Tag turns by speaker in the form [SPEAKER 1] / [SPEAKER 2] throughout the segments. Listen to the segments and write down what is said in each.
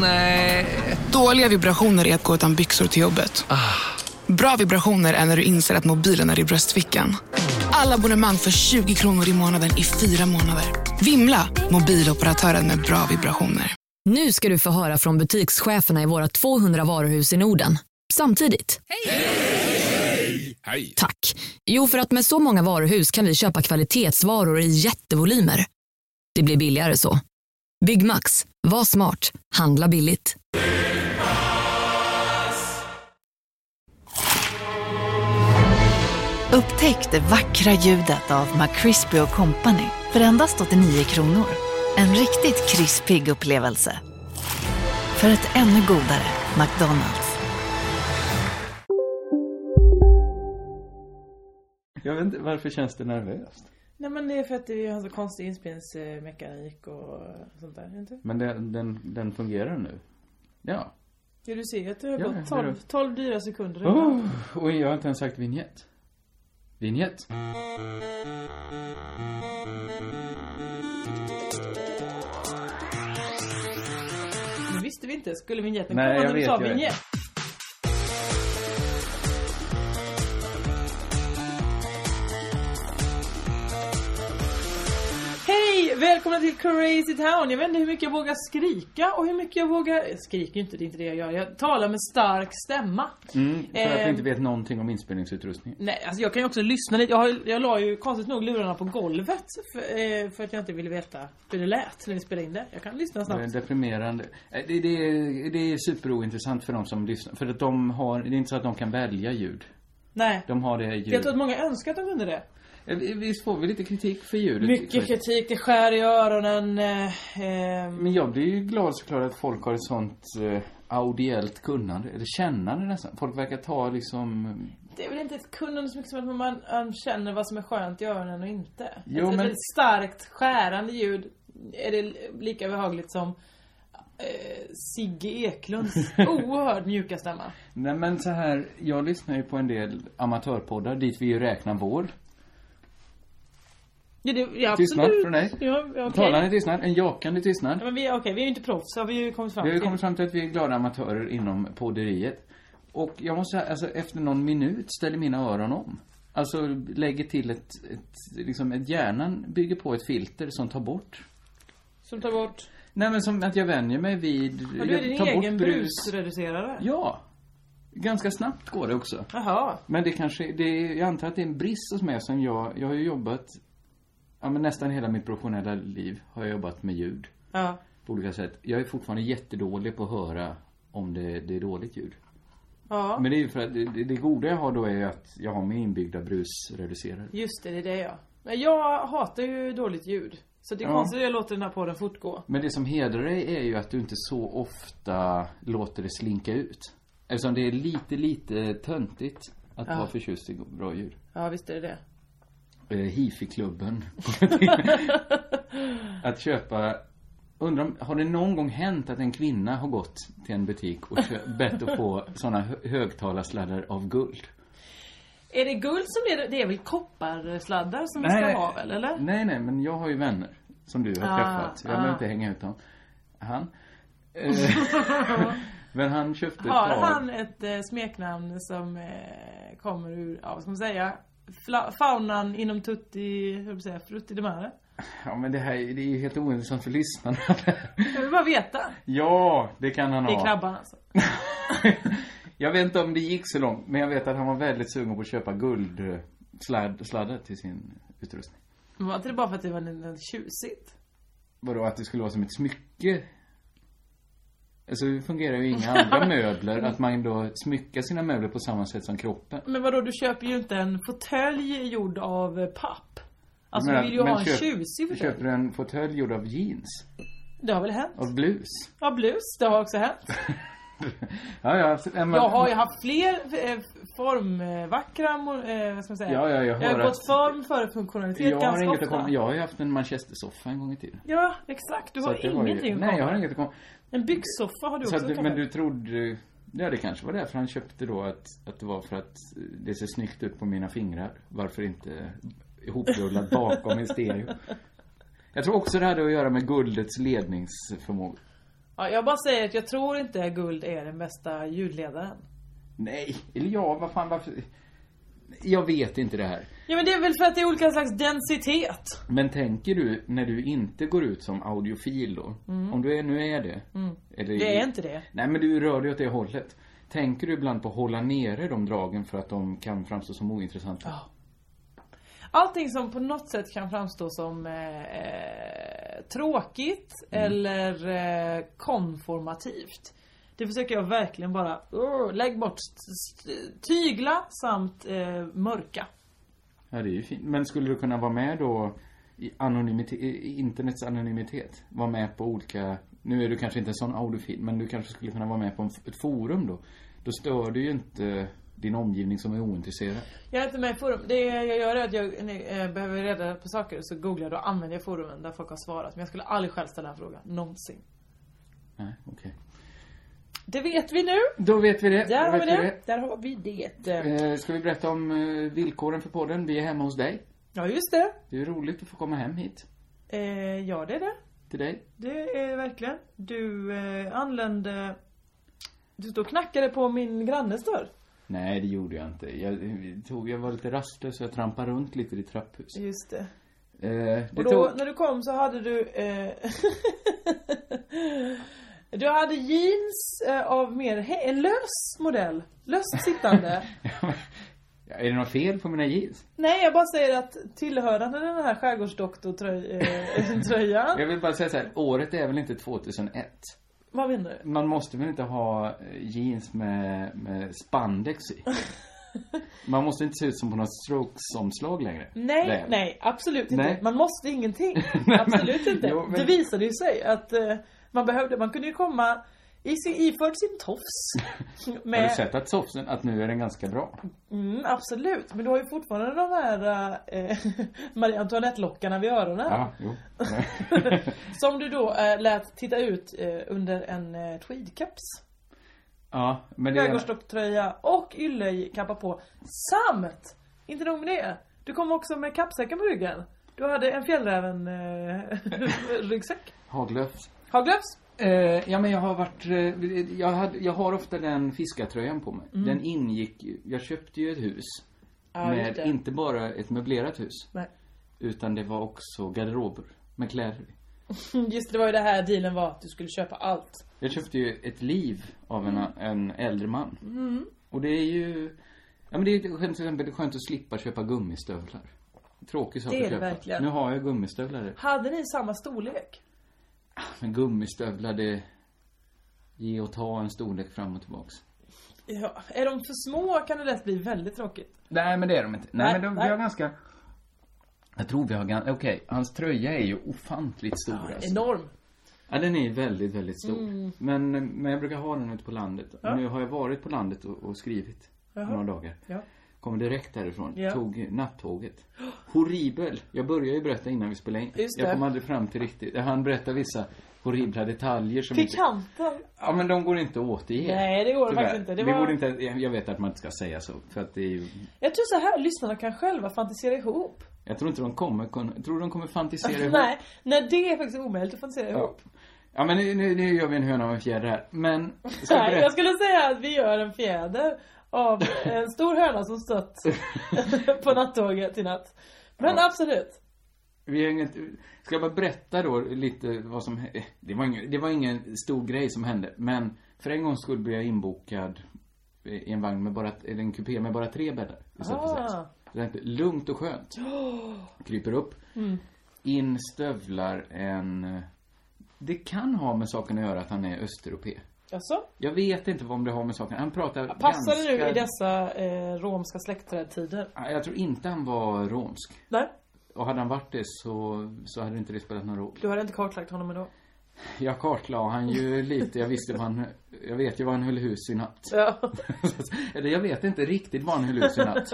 [SPEAKER 1] Nej.
[SPEAKER 2] Dåliga vibrationer är att gå utan byxor till jobbet. Bra vibrationer är när du inser att mobilen är i bröstfickan. Alla abonnemang för 20 kronor i månaden i fyra månader. Vimla! Mobiloperatören med bra vibrationer.
[SPEAKER 3] Nu ska du få höra från butikscheferna i våra 200 varuhus i Norden. Samtidigt. Hej!
[SPEAKER 4] Hej!
[SPEAKER 3] Tack. Jo, för att med så många varuhus kan vi köpa kvalitetsvaror i jättevolymer. Det blir billigare så. Byggmax. Var smart. Handla billigt.
[SPEAKER 5] Upptäck det vackra ljudet av McCrispy Company för endast 89 kronor. En riktigt krispig upplevelse. För ett ännu godare McDonalds.
[SPEAKER 6] Jag vet inte, varför känns det nervöst?
[SPEAKER 7] Nej men det är för att vi har så konstig inspelningsmekanik och sånt där, inte?
[SPEAKER 6] Men den, den, den fungerar nu. Ja.
[SPEAKER 7] Ja du ser ju att det har
[SPEAKER 6] Ja,
[SPEAKER 7] gått
[SPEAKER 6] ja, det är
[SPEAKER 7] 12, 12 dyra sekunder redan.
[SPEAKER 6] Oh, och jag har inte ens sagt vignett. Vignett.
[SPEAKER 7] Det visste vi inte, skulle vinjetten
[SPEAKER 6] Nej,
[SPEAKER 7] komma
[SPEAKER 6] jag
[SPEAKER 7] när du
[SPEAKER 6] vet,
[SPEAKER 7] sa
[SPEAKER 6] jag vet.
[SPEAKER 7] vinjett? Hej! Välkomna till Crazy Town! Jag vet inte hur mycket jag vågar skrika och hur mycket jag vågar... Jag skriker ju inte, det är inte det jag gör. Jag talar med stark stämma.
[SPEAKER 6] Mm, för att
[SPEAKER 7] Ehm.
[SPEAKER 6] jag inte vet någonting om inspelningsutrustningen.
[SPEAKER 7] Nej, alltså jag kan ju också lyssna lite. Jag, har, jag la ju konstigt nog lurarna på golvet för, eh, för att jag inte ville veta hur det lät när vi spelade in det. Jag kan lyssna
[SPEAKER 6] Det är
[SPEAKER 7] snabbt.
[SPEAKER 6] deprimerande. Eh, Det, det, är, det är superointressant för de som lyssnar. För att de har, det är inte så att de kan välja ljud.
[SPEAKER 7] Nej.
[SPEAKER 6] De har det
[SPEAKER 7] Jag tror att
[SPEAKER 6] ljudet.
[SPEAKER 7] många önskar att de kunde det.
[SPEAKER 6] Eh, vi- Visst får vi lite kritik för ljudet?
[SPEAKER 7] Mycket kritik, det skär i öronen. eh, ehm,
[SPEAKER 6] Men jag blir ju glad såklart att folk har ett sånt eh, audiellt kunnande, eller kännande nästan. Folk verkar ta liksom...
[SPEAKER 7] Det är väl inte ett kunnande så mycket som att man, man känner vad som är skönt i öronen och inte.
[SPEAKER 6] Jo,
[SPEAKER 7] ett, ett
[SPEAKER 6] men-
[SPEAKER 7] väldigt starkt skärande ljud är det lika behagligt som eh, Sigge Eklunds oerhört mjuka stämma.
[SPEAKER 6] Nej men så här, jag lyssnar ju på en del amatörpoddar dit vi ju räknar vår.
[SPEAKER 7] Ja, det, ja, absolut.
[SPEAKER 6] Tystnad från dig.
[SPEAKER 7] Ja, ja, okej.
[SPEAKER 6] Talande tystnad, en jakande tystnad.
[SPEAKER 7] Ja, Men vi, okej, vi är ju inte proffs, har vi ju kommit fram
[SPEAKER 6] Vi har ju
[SPEAKER 7] till.
[SPEAKER 6] kommit fram till att vi är glada amatörer inom podderiet. Och jag måste säga, alltså efter någon minut ställer mina öron om. Alltså lägger till ett, ett liksom, ett hjärnan bygger på ett filter som tar bort.
[SPEAKER 7] Som tar bort...
[SPEAKER 6] Nej men som att jag vänjer mig vid,
[SPEAKER 7] Ja, du är
[SPEAKER 6] jag
[SPEAKER 7] din
[SPEAKER 6] tar bort
[SPEAKER 7] egen brusreducerare.
[SPEAKER 6] Ja. Ganska snabbt går det också.
[SPEAKER 7] Jaha.
[SPEAKER 6] Men det kanske, det är, jag antar att det är en brist hos mig som jag, jag har ju jobbat, ja men nästan hela mitt professionella liv har jag jobbat med ljud.
[SPEAKER 7] Ja.
[SPEAKER 6] På olika sätt. Jag är fortfarande jättedålig på att höra om det, det är dåligt ljud.
[SPEAKER 7] Ja.
[SPEAKER 6] Men det är ju för att det, det goda jag har då är ju att jag har min inbyggda brusreducerare.
[SPEAKER 7] Just det, det är det ja. Men jag hatar ju dåligt ljud. Så det är
[SPEAKER 6] Ja.
[SPEAKER 7] konstigt att jag låter den här podden fortgå.
[SPEAKER 6] Men det som hedrar dig är ju att du inte så ofta låter det slinka ut. Eftersom det är lite, lite töntigt att vara förtjust i bra ljud.
[SPEAKER 7] Ja, visst är det det.
[SPEAKER 6] eh, hifi-klubben. att köpa Undrar, om- har det någon gång hänt att en kvinna har gått till en butik och kö- bett att få såna hö- högtalarsladdar av guld?
[SPEAKER 7] Är det guld som är det? är väl kopparsladdar som vi
[SPEAKER 6] Nej.
[SPEAKER 7] ska ha väl, eller?
[SPEAKER 6] Nej, nej, men jag har ju vänner som du har
[SPEAKER 7] Ah,
[SPEAKER 6] träffat. Jag behöver
[SPEAKER 7] ah.
[SPEAKER 6] inte hänga ut dem. Han. eh, men han köpte ett
[SPEAKER 7] Har
[SPEAKER 6] par.
[SPEAKER 7] han ett eh, smeknamn som eh, kommer ur, ja vad ska man säga? Fla- faunan inom Tutti, hur man säga, Frutti de Mare?
[SPEAKER 6] Ja, men det här är- det är ju helt ointressant för lyssnarna.
[SPEAKER 7] Jag vill bara veta.
[SPEAKER 6] ja, det kan han
[SPEAKER 7] Det är
[SPEAKER 6] ha.
[SPEAKER 7] krabban alltså.
[SPEAKER 6] jag vet inte om det gick så långt, men jag vet att han var väldigt sugen på att köpa guldsladdar till sin utrustning.
[SPEAKER 7] Men var inte det bara för att det var lite tjusigt?
[SPEAKER 6] Vadå, att det skulle vara som ett smycke? Alltså det fungerar ju inga andra möbler, att man då smyckar sina möbler på samma sätt som kroppen.
[SPEAKER 7] Men vadå, du köper ju inte en fåtölj gjord av eh, papp. Alltså
[SPEAKER 6] Jag menar,
[SPEAKER 7] du vill ju ha en
[SPEAKER 6] köp-
[SPEAKER 7] tjusig
[SPEAKER 6] Du
[SPEAKER 7] fåtölj.
[SPEAKER 6] köper en fåtölj gjord av jeans,
[SPEAKER 7] Det har väl hänt?
[SPEAKER 6] av blus.
[SPEAKER 7] Ja, blus, det har också hänt.
[SPEAKER 6] ja, ja, så- men,
[SPEAKER 7] Jag har ju haft fler eh, formvackra, mo- eh, vad ska man säga?
[SPEAKER 6] Ja, ja, jag
[SPEAKER 7] jag
[SPEAKER 6] hör
[SPEAKER 7] har gått
[SPEAKER 6] att-
[SPEAKER 7] form före funktionalitet
[SPEAKER 6] jag har
[SPEAKER 7] ganska
[SPEAKER 6] inget
[SPEAKER 7] ofta.
[SPEAKER 6] att komma, jag har ju haft en manchestersoffa en gång i tiden.
[SPEAKER 7] Ja, exakt. Du
[SPEAKER 6] Så
[SPEAKER 7] har
[SPEAKER 6] att det var ju-
[SPEAKER 7] ingenting att komma
[SPEAKER 6] Nej, jag har
[SPEAKER 7] med.
[SPEAKER 6] inget att komma.
[SPEAKER 7] En byggsoffa har du
[SPEAKER 6] Så
[SPEAKER 7] också
[SPEAKER 6] att du,
[SPEAKER 7] kanske.
[SPEAKER 6] men du trodde, ja det kanske var därför han köpte då att, att det var för att det ser snyggt ut på mina fingrar. Varför inte ihoprullat bakom i stereo? Jag tror också det hade att göra med guldets ledningsförmåga.
[SPEAKER 7] Ja, jag bara säger att jag tror inte guld är den bästa ljudledaren.
[SPEAKER 6] Nej, eller ja, vad fan varför? Jag vet inte det här.
[SPEAKER 7] Ja men det är väl för att det är olika slags densitet.
[SPEAKER 6] Men tänker du när du inte går ut som audiofil då? Om du är, nu är det. Eller,
[SPEAKER 7] Mm. Det är inte det.
[SPEAKER 6] Nej men du rör dig åt det hållet. Tänker du ibland på att hålla nere de dragen för att de kan framstå som ointressanta?
[SPEAKER 7] Ja. Allting som på något sätt kan framstå som eh, eh, tråkigt
[SPEAKER 6] Mm.
[SPEAKER 7] eller eh, konformativt. Det försöker jag verkligen bara oh, lägg bort. St- st- Tygla samt eh, mörka.
[SPEAKER 6] Ja, det är ju fint. Men skulle du kunna vara med då i, anonymite- i internets anonymitet? Vara med på olika, nu är du kanske inte en sån audiofil, men du kanske skulle kunna vara med på en, f- ett forum då. Då stör du ju inte din omgivning som är ointresserad.
[SPEAKER 7] Jag är inte med i forum. Det jag gör är att jag nej, eh, behöver reda på saker så googlar jag och använder jag forumen där folk har svarat. Men jag skulle aldrig själv ställa en fråga. Någonsin.
[SPEAKER 6] Nej, okej.
[SPEAKER 7] Det vet vi nu.
[SPEAKER 6] Då vet vi det.
[SPEAKER 7] Där
[SPEAKER 6] Då
[SPEAKER 7] har vi
[SPEAKER 6] vet
[SPEAKER 7] det. Där har vi det.
[SPEAKER 6] Eh, ska vi berätta om eh, villkoren för podden? Vi är hemma hos dig.
[SPEAKER 7] Ja just det.
[SPEAKER 6] Det är roligt att få komma hem hit
[SPEAKER 7] Eh, ja det är det.
[SPEAKER 6] till dig.
[SPEAKER 7] Det är verkligen. Du eh, anlände... Du stod och knackade på min grannes dörr.
[SPEAKER 6] Nej, det gjorde jag inte. Jag, tog, jag var lite rastlös och jag trampade runt lite i ditt trapphus.
[SPEAKER 7] Just det.
[SPEAKER 6] Eh, det
[SPEAKER 7] Och då
[SPEAKER 6] tog...
[SPEAKER 7] när du kom så hade du... Eh, du hade jeans eh, av mer he- en lös modell. Löst sittande.
[SPEAKER 6] Ja, är det något fel på mina jeans?
[SPEAKER 7] Nej jag bara säger att tillhörande den här eh, skärgårdsdoktortröjan.
[SPEAKER 6] Jag vill bara säga så här, året är väl inte 2001?
[SPEAKER 7] Vad menar du?
[SPEAKER 6] Man måste väl inte ha eh, jeans med, med spandex i? Man måste inte se ut som på något strokesomslag längre.
[SPEAKER 7] Nej,
[SPEAKER 6] Väl?
[SPEAKER 7] nej, absolut inte.
[SPEAKER 6] Nej.
[SPEAKER 7] Man måste ingenting.
[SPEAKER 6] men-
[SPEAKER 7] absolut inte.
[SPEAKER 6] Jo, men-
[SPEAKER 7] Det visade ju sig att eh, man behövde, man kunde ju komma i sin, iförd sin tofs. Med,
[SPEAKER 6] Har du sett att sofsen, att nu är den ganska bra?
[SPEAKER 7] Mm, absolut, men du har ju fortfarande de här eh, Marie Antoinette-lockarna vid öronen.
[SPEAKER 6] Ja, jo.
[SPEAKER 7] Som du då eh, lät titta ut eh, under en eh, tweedkeps.
[SPEAKER 6] ja, men det är...
[SPEAKER 7] Skärgårdsdocktröja och yllekappa på. Samt, inte nog med det. Du kom också med kappsäcken på ryggen. Du hade en fjällräven eh, ryggsäck.
[SPEAKER 6] Haglöfs.
[SPEAKER 7] Haglöfs.
[SPEAKER 6] Eh, ja men jag har varit, eh, jag, hade, jag har ofta den fiskartröjan på mig. Den ingick, jag köpte ju ett hus.
[SPEAKER 7] Mm. Ja, just
[SPEAKER 6] med,
[SPEAKER 7] det.
[SPEAKER 6] inte bara ett möblerat hus.
[SPEAKER 7] Nej.
[SPEAKER 6] Utan det var också garderober med kläder i.
[SPEAKER 7] Mm, Just det, det var ju det här dealen var. Att du skulle köpa allt.
[SPEAKER 6] Jag köpte ju ett liv av en, en äldre man.
[SPEAKER 7] Mm.
[SPEAKER 6] Och det är ju, ja men det är ju skönt, till exempel, det är skönt att slippa köpa gummistövlar. Tråkig sak
[SPEAKER 7] Det är
[SPEAKER 6] att
[SPEAKER 7] det
[SPEAKER 6] köpa.
[SPEAKER 7] verkligen.
[SPEAKER 6] Nu har jag gummistövlar.
[SPEAKER 7] Hade ni samma storlek?
[SPEAKER 6] Men gummistövlar det, ge och ta en storlek fram och tillbaks.
[SPEAKER 7] Ja. Är de för små kan det lätt bli väldigt tråkigt.
[SPEAKER 6] Nej men det är de inte. Nej,
[SPEAKER 7] Nej,
[SPEAKER 6] men de,
[SPEAKER 7] nej.
[SPEAKER 6] vi har ganska jag tror vi har ganska, okej, hans tröja är ju ofantligt stor alltså.
[SPEAKER 7] Enorm.
[SPEAKER 6] Ja, den är ju väldigt, väldigt stor.
[SPEAKER 7] Mm.
[SPEAKER 6] Men, men jag brukar ha den ute på landet. Nu har jag varit på landet och, och skrivit några dagar.
[SPEAKER 7] Ja.
[SPEAKER 6] Kommer direkt därifrån.
[SPEAKER 7] Ja.
[SPEAKER 6] Tog nattåget. Horribel! Jag började ju berätta innan vi spelade in.
[SPEAKER 7] Just
[SPEAKER 6] jag
[SPEAKER 7] det.
[SPEAKER 6] kom aldrig fram till riktigt. Han berättade vissa horribla detaljer som inte...
[SPEAKER 7] Pikanten.
[SPEAKER 6] Ja men de går inte att återge.
[SPEAKER 7] Nej, det går
[SPEAKER 6] Tyvärr.
[SPEAKER 7] faktiskt inte. Det
[SPEAKER 6] Vi
[SPEAKER 7] var-
[SPEAKER 6] borde inte... Jag vet att man inte ska säga så. För att det är ju...
[SPEAKER 7] Jag tror så här lyssnarna kan själva fantisera ihop.
[SPEAKER 6] Jag tror inte de kommer kunna... Tror du de kommer fantisera ihop?
[SPEAKER 7] Nej, nej det är faktiskt omöjligt att fantisera
[SPEAKER 6] Ja.
[SPEAKER 7] ihop.
[SPEAKER 6] Ja men nu, nu, nu gör vi en höna av en fjäder här. Men... Ska jag
[SPEAKER 7] Nej, jag
[SPEAKER 6] berätta?
[SPEAKER 7] skulle säga att vi gör en fjäder av en stor höna som stött på nattåget i natt. Men
[SPEAKER 6] Ja.
[SPEAKER 7] absolut.
[SPEAKER 6] Vi har inget, ska jag bara berätta då lite vad som hä- eh, det var, ingen, det var ingen stor grej som hände, men för en gångs skull blev jag inbokad i en vagn med bara, eller en kupé med bara tre bäddar istället för sex. Så
[SPEAKER 7] Ah.
[SPEAKER 6] Det är lugnt och skönt. Kryper upp.
[SPEAKER 7] Mm.
[SPEAKER 6] In stövlar en... Det kan ha med saken att göra att han är östeuropé.
[SPEAKER 7] Alltså,
[SPEAKER 6] Jag vet inte vad om det har med saken Han pratar
[SPEAKER 7] passar det nu
[SPEAKER 6] ganska-
[SPEAKER 7] i dessa eh, romska släktträdtider?
[SPEAKER 6] Jag tror inte han var romsk.
[SPEAKER 7] Nej,
[SPEAKER 6] Och hade han varit det så, så hade inte det spelat någon roll.
[SPEAKER 7] du hade inte kartlagt honom ändå.
[SPEAKER 6] Jag kartlade han ju lite. Jag visste vad han... Jag vet ju var han höll hus i natt.
[SPEAKER 7] Ja.
[SPEAKER 6] Eller jag vet inte riktigt var han höll hus i natt.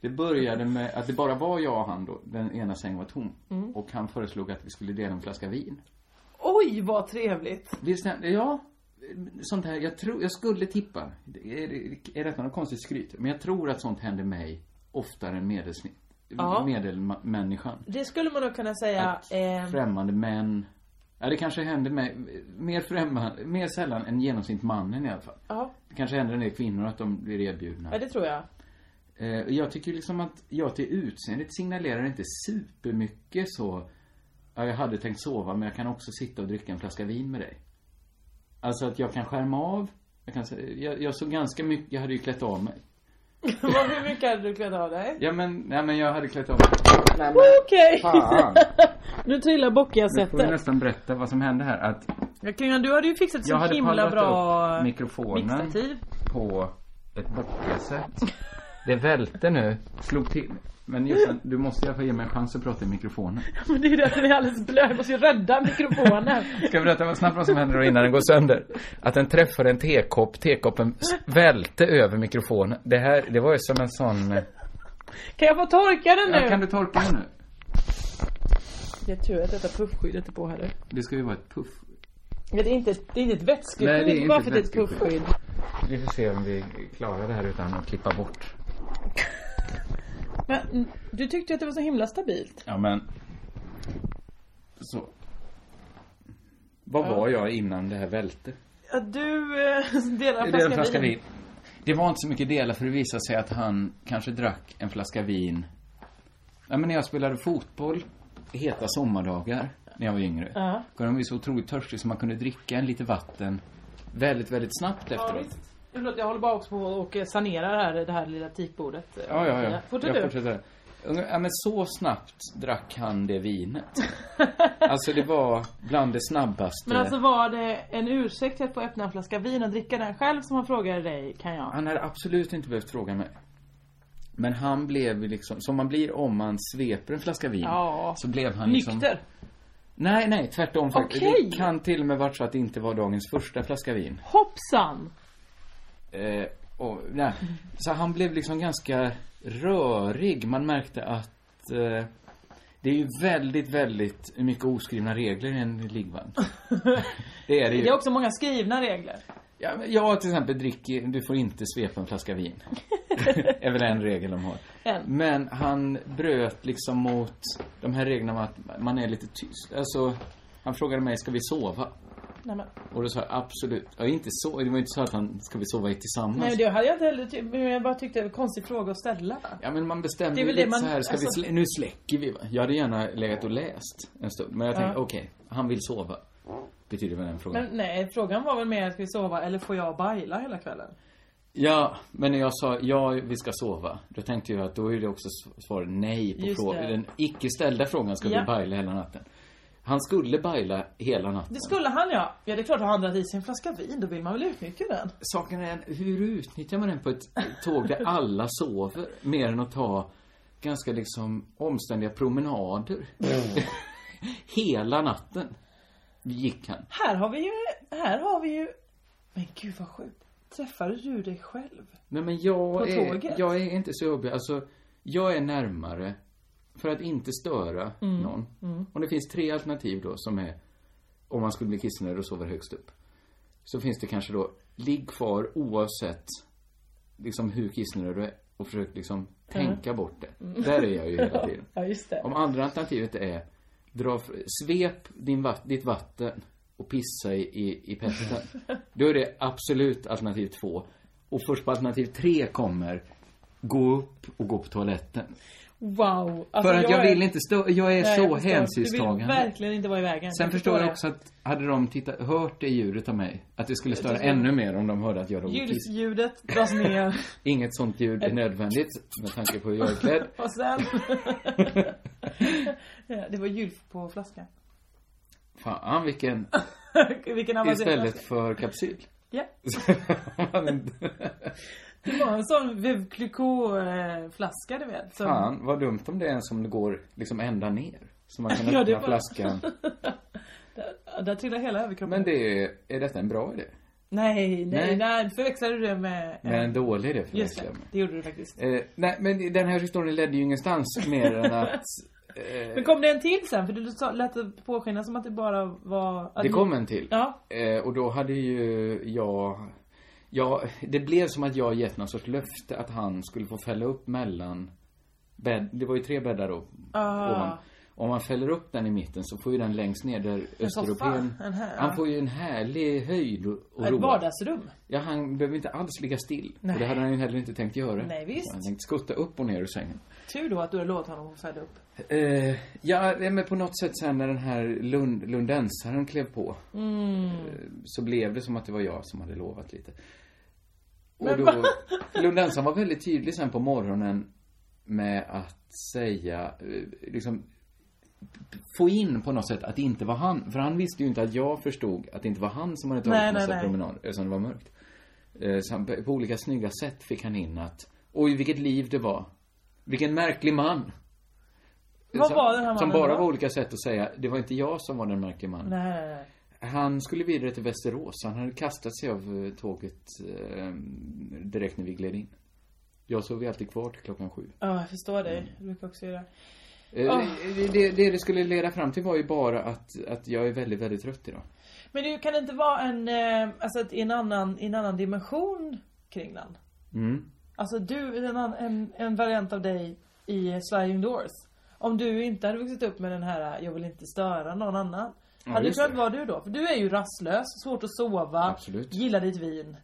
[SPEAKER 6] Det började med att det bara var jag och han då. Den ena sängen var tom. Och han föreslog att vi skulle dela en flaska vin.
[SPEAKER 7] Oj, vad trevligt.
[SPEAKER 6] Visst, hände- ja. Sånt här, jag tror, jag skulle tippa. Är, det- är detta något konstigt skryt? Men jag tror att sånt händer mig oftare än medelsnitt.
[SPEAKER 7] Ja.
[SPEAKER 6] Medelmänniskan.
[SPEAKER 7] Det skulle man nog kunna säga.
[SPEAKER 6] Att
[SPEAKER 7] Eh,
[SPEAKER 6] Främmande män Ja, det kanske händer med, mer, främman, mer sällan än genomsnitt mannen i alla fall.
[SPEAKER 7] Ja,
[SPEAKER 6] Det kanske händer en del kvinnor att de blir erbjudna.
[SPEAKER 7] ja det tror jag.
[SPEAKER 6] Eh, och jag tycker liksom att jag till utseendet signalerar inte supermycket så. Ja, jag hade tänkt sova men jag kan också sitta och dricka en flaska vin med dig. Alltså att jag kan skärma av. Jag, kan, sä- jag, jag såg ganska mycket, jag hade ju klätt av mig.
[SPEAKER 7] Vad- Hur mycket hade du klätt av dig?
[SPEAKER 6] Ja men, nej men jag hade klätt av mig.
[SPEAKER 7] Okej!
[SPEAKER 6] Fan.
[SPEAKER 7] Nu trillar
[SPEAKER 6] Nu får vi
[SPEAKER 7] bockiga-sättet.
[SPEAKER 6] nästan berätta vad som hände här. Att
[SPEAKER 7] Jag kan- Du hade ju fixat
[SPEAKER 6] jag
[SPEAKER 7] så
[SPEAKER 6] hade
[SPEAKER 7] himla
[SPEAKER 6] pallrat
[SPEAKER 7] bra
[SPEAKER 6] upp mikrofonen
[SPEAKER 7] mixtativ.
[SPEAKER 6] på ett bockasätt. Det välte nu. Slog till. Men Jossan, du måste i alla fall ge mig en chans att prata i mikrofonen.
[SPEAKER 7] Men det är ju det att den är alldeles blöt. Jag måste ju rädda mikrofonen.
[SPEAKER 6] Ska jag berätta vad snabbt vad som händer då innan den går sönder? Att den träffar en tekopp, tekoppen s- välte över mikrofonen. Det här, det var ju som en sån... eh,
[SPEAKER 7] Kan jag få torka den nu?
[SPEAKER 6] Ja, kan du torka den nu?
[SPEAKER 7] Det är tur att detta puffskyddet är på heller.
[SPEAKER 6] Det ska ju vara ett puff.
[SPEAKER 7] Det är inte ett, det är inte ett vätskeskydd
[SPEAKER 6] Nej, det är inte
[SPEAKER 7] bara
[SPEAKER 6] ett
[SPEAKER 7] för att det är ett
[SPEAKER 6] vätskeskydd.
[SPEAKER 7] puffskydd.
[SPEAKER 6] Vi får se om vi klarar det här utan att klippa bort.
[SPEAKER 7] Men mm, du tyckte ju att det var så himla stabilt.
[SPEAKER 6] Ja, men... Så. Vad var jag innan det här välte?
[SPEAKER 7] Att du eh, delar en
[SPEAKER 6] Det är en
[SPEAKER 7] flaska,
[SPEAKER 6] flaska
[SPEAKER 7] vin.
[SPEAKER 6] vin. Det var inte så mycket delar för det visade sig att han kanske drack en flaska vin. Ja, men när jag spelade fotboll heta sommardagar när jag var yngre.
[SPEAKER 7] Ja.
[SPEAKER 6] Då var man ju så otroligt törstig så man kunde dricka en lite vatten väldigt, väldigt snabbt efteråt.
[SPEAKER 7] Förlåt, jag håller bara också på och sanerar här, det här lilla teakbordet.
[SPEAKER 6] Ja, ja, ja.
[SPEAKER 7] Fortsätt
[SPEAKER 6] jag
[SPEAKER 7] du.
[SPEAKER 6] fortsätter. Ja, men så snabbt drack han det vinet. Alltså det var bland det snabbaste.
[SPEAKER 7] Men alltså var det en ursäkt att få öppna en flaska vin och dricka den själv som han frågade dig, kan jag?
[SPEAKER 6] Han hade absolut inte behövt fråga mig. Men han blev ju liksom, som man blir om man sveper en flaska vin.
[SPEAKER 7] Ja.
[SPEAKER 6] Så blev han liksom...
[SPEAKER 7] Nykter?
[SPEAKER 6] Nej, nej, tvärtom faktiskt.
[SPEAKER 7] Okej.
[SPEAKER 6] Det kan till och med varit så att det inte var dagens första flaska vin.
[SPEAKER 7] Hoppsan!
[SPEAKER 6] Eh, och, nej. Så han blev liksom ganska rörig. Man märkte att eh, det är ju väldigt, väldigt mycket oskrivna regler i en liggvagn. det är det ju.
[SPEAKER 7] Det är också många skrivna regler.
[SPEAKER 6] Ja, men jag till exempel dricker, du får inte svepa en flaska vin. är väl en regel de har.
[SPEAKER 7] En.
[SPEAKER 6] Men han bröt liksom mot de här reglerna om att man är lite tyst. Alltså, han frågade mig, ska vi sova?
[SPEAKER 7] Nej men,
[SPEAKER 6] Och då sa jag absolut. Ja, inte så. Det var inte så att han, ska vi sova tillsammans?
[SPEAKER 7] nej, men det hade jag inte heller tyckt, men jag bara tyckte det var en konstig fråga att ställa.
[SPEAKER 6] Ja, men man bestämde
[SPEAKER 7] Det är
[SPEAKER 6] ju
[SPEAKER 7] väl
[SPEAKER 6] lite
[SPEAKER 7] det man-
[SPEAKER 6] så här, ska
[SPEAKER 7] alltså-
[SPEAKER 6] vi slä... nu släcker vi va? Jag hade gärna legat och läst en stund. Men jag tänkte,
[SPEAKER 7] Ja.
[SPEAKER 6] okej, han vill sova. Betyder väl den frågan.
[SPEAKER 7] Men nej, frågan var väl mer, ska vi sova eller får jag baila hela kvällen?
[SPEAKER 6] Ja, men när jag sa ja, vi ska sova. Då tänkte jag att då är det också s- svar nej på
[SPEAKER 7] Just
[SPEAKER 6] frågan.
[SPEAKER 7] det.
[SPEAKER 6] Den icke ställda frågan, ska
[SPEAKER 7] Ja.
[SPEAKER 6] vi baila hela natten? Han skulle baila hela natten.
[SPEAKER 7] Det skulle han ja. Ja det är klart, har han dragit i sig en flaska vin då vill man väl utnyttja den.
[SPEAKER 6] Saken är, hur utnyttjar man den på ett tåg där alla sover? Mer än att ta ganska liksom omständiga promenader.
[SPEAKER 7] Mm.
[SPEAKER 6] Hela natten gick han.
[SPEAKER 7] Här har vi ju, här har vi ju, men gud vad sjukt. Träffade du dig själv?
[SPEAKER 6] Nej men jag
[SPEAKER 7] På
[SPEAKER 6] är,
[SPEAKER 7] tåget?
[SPEAKER 6] jag är inte så jobbig. Alltså, jag är närmare för att inte störa
[SPEAKER 7] Mm.
[SPEAKER 6] någon. Och det finns tre alternativ då som är om man skulle bli kissnödig och sover högst upp. Så finns det kanske då ligg kvar oavsett liksom hur kissnödig du är och försök liksom
[SPEAKER 7] Mm.
[SPEAKER 6] tänka bort det. Där är jag ju hela tiden.
[SPEAKER 7] Ja just det.
[SPEAKER 6] Om andra alternativet är dra, fr- svep din, vat- ditt vatten och pissa i, i, i petten. Då är det absolut alternativ två. Och först på alternativ tre kommer gå upp och gå på toaletten.
[SPEAKER 7] Wow. Alltså,
[SPEAKER 6] För att jag
[SPEAKER 7] är-
[SPEAKER 6] vill inte stå, jag är
[SPEAKER 7] Nej, jag
[SPEAKER 6] så
[SPEAKER 7] förstår. Du vill
[SPEAKER 6] hänsynstagande.
[SPEAKER 7] verkligen inte vara i vägen.
[SPEAKER 6] Sen förstår jag
[SPEAKER 7] det.
[SPEAKER 6] också att hade de tittat, hört det ljudet av mig, att det skulle störa ännu mer om de hörde att jag låg och
[SPEAKER 7] Ljud,
[SPEAKER 6] kissade.
[SPEAKER 7] ljudet dras ner
[SPEAKER 6] Inget sånt ljud är nödvändigt med tanke på hur jag är klädd.
[SPEAKER 7] och sen... Ja, det var ljud på flaskan.
[SPEAKER 6] Fan vilken,
[SPEAKER 7] Vilken avancerad
[SPEAKER 6] istället
[SPEAKER 7] flaska.
[SPEAKER 6] för kapsyl.
[SPEAKER 7] Ja.
[SPEAKER 6] Man-
[SPEAKER 7] Det var en sån Veuve-Clicquot-flaska du vet. Som...
[SPEAKER 6] Fan, vad dumt om det är en som går liksom ända ner. Så man kan
[SPEAKER 7] Ja,
[SPEAKER 6] öppna
[SPEAKER 7] det var-
[SPEAKER 6] flaskan.
[SPEAKER 7] Där, där trillar hela överkroppen.
[SPEAKER 6] Men det är, är detta en bra idé?
[SPEAKER 7] Nej, nej,
[SPEAKER 6] Nej.
[SPEAKER 7] nej. Förväxlade du det med...
[SPEAKER 6] Men en dålig idé för
[SPEAKER 7] Just
[SPEAKER 6] mig,
[SPEAKER 7] det,
[SPEAKER 6] Clem.
[SPEAKER 7] det gjorde du faktiskt.
[SPEAKER 6] Eh, nej, men den här historien ledde ju ingenstans mer än att
[SPEAKER 7] Men kom det en till sen? För du sa- lät det påskina som att det bara var... att
[SPEAKER 6] det
[SPEAKER 7] ni-
[SPEAKER 6] kom en till.
[SPEAKER 7] Ja.
[SPEAKER 6] Eh, och då hade ju jag, jag, det blev som att jag gett någon sorts löfte att han skulle få fälla upp mellan bädd, det var ju tre bäddar då.
[SPEAKER 7] Ah.
[SPEAKER 6] ovan. Om man fäller upp den i mitten så får ju den längst ner där östeuropén...
[SPEAKER 7] soffa, en här, ja.
[SPEAKER 6] Han får ju en härlig höjd och och
[SPEAKER 7] Ett
[SPEAKER 6] ro.
[SPEAKER 7] vardagsrum.
[SPEAKER 6] Ja, han behöver inte alls ligga still.
[SPEAKER 7] Nej.
[SPEAKER 6] Och det hade han ju heller inte tänkt göra.
[SPEAKER 7] Nej, visst.
[SPEAKER 6] Så Han tänkte skutta upp och ner ur sängen.
[SPEAKER 7] Tur då att du har låtit honom få fälla upp.
[SPEAKER 6] Eh, ja, nej, men på något sätt sen när den här Lund, lundensaren klev på.
[SPEAKER 7] Mm.
[SPEAKER 6] Eh, så blev det som att det var jag som hade lovat lite. Och då, lundensaren var väldigt tydlig sen på morgonen med att säga, eh, liksom få in på något sätt att det inte var han. För han visste ju inte att jag förstod att det inte var han som hade tagit
[SPEAKER 7] Nej, nej,
[SPEAKER 6] massa
[SPEAKER 7] nej.
[SPEAKER 6] promenader eftersom det var mörkt. Eh, Så han, på olika snygga sätt fick han in att, oj vilket liv det var. Vilken märklig man.
[SPEAKER 7] Vad
[SPEAKER 6] som,
[SPEAKER 7] var den här mannen
[SPEAKER 6] Som bara
[SPEAKER 7] då?
[SPEAKER 6] var olika sätt att säga, det var inte jag som var den märkliga mannen.
[SPEAKER 7] Nej, nej, nej.
[SPEAKER 6] Han skulle vidare till Västerås. Han hade kastat sig av eh, tåget eh, direkt när vi gled in. Jag sov ju alltid kvar till klockan sju.
[SPEAKER 7] Ja, jag förstår dig. Du brukar också göra det.
[SPEAKER 6] Eh,
[SPEAKER 7] Ah.
[SPEAKER 6] Det, det, det det skulle leda fram till var ju bara att, att jag är väldigt, väldigt trött idag.
[SPEAKER 7] Men det kan inte vara en, eh, alltså ett, i en annan, i en annan dimension kring den?
[SPEAKER 6] Mm.
[SPEAKER 7] Alltså du, en, annan- en, en variant av dig i Sliding Doors. Om du inte hade vuxit upp med den här, eh, jag vill inte störa någon annan. hade du
[SPEAKER 6] just
[SPEAKER 7] kunnat
[SPEAKER 6] det.
[SPEAKER 7] vara du då? För du är ju rastlös, svårt att sova,
[SPEAKER 6] Absolut.
[SPEAKER 7] gillar ditt vin.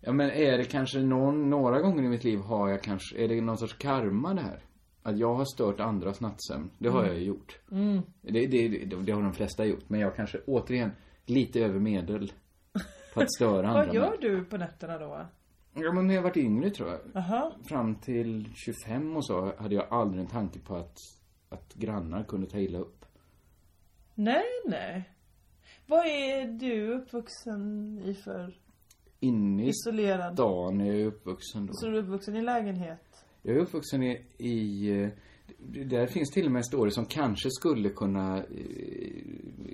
[SPEAKER 6] Ja men är det kanske någon, några gånger i mitt liv har jag kanske, är det någon sorts karma det här? Att jag har stört andras nattsömn. Det har
[SPEAKER 7] Mm.
[SPEAKER 6] jag ju gjort. Det, det, det, det har de flesta gjort. Men jag kanske återigen lite över medel på att störa andra.
[SPEAKER 7] Vad gör du på nätterna då?
[SPEAKER 6] Ja men när jag varit yngre tror jag.
[SPEAKER 7] Aha.
[SPEAKER 6] Fram till 25 och så hade jag aldrig en tanke på att, att grannar kunde ta illa upp.
[SPEAKER 7] Nej, nej. Vad är du uppvuxen i för
[SPEAKER 6] Inne i
[SPEAKER 7] isolerad?
[SPEAKER 6] stan är jag ju uppvuxen då.
[SPEAKER 7] Så du är uppvuxen i lägenhet?
[SPEAKER 6] Jag är uppvuxen i, i eh, d- där finns till och med en story som kanske skulle kunna eh,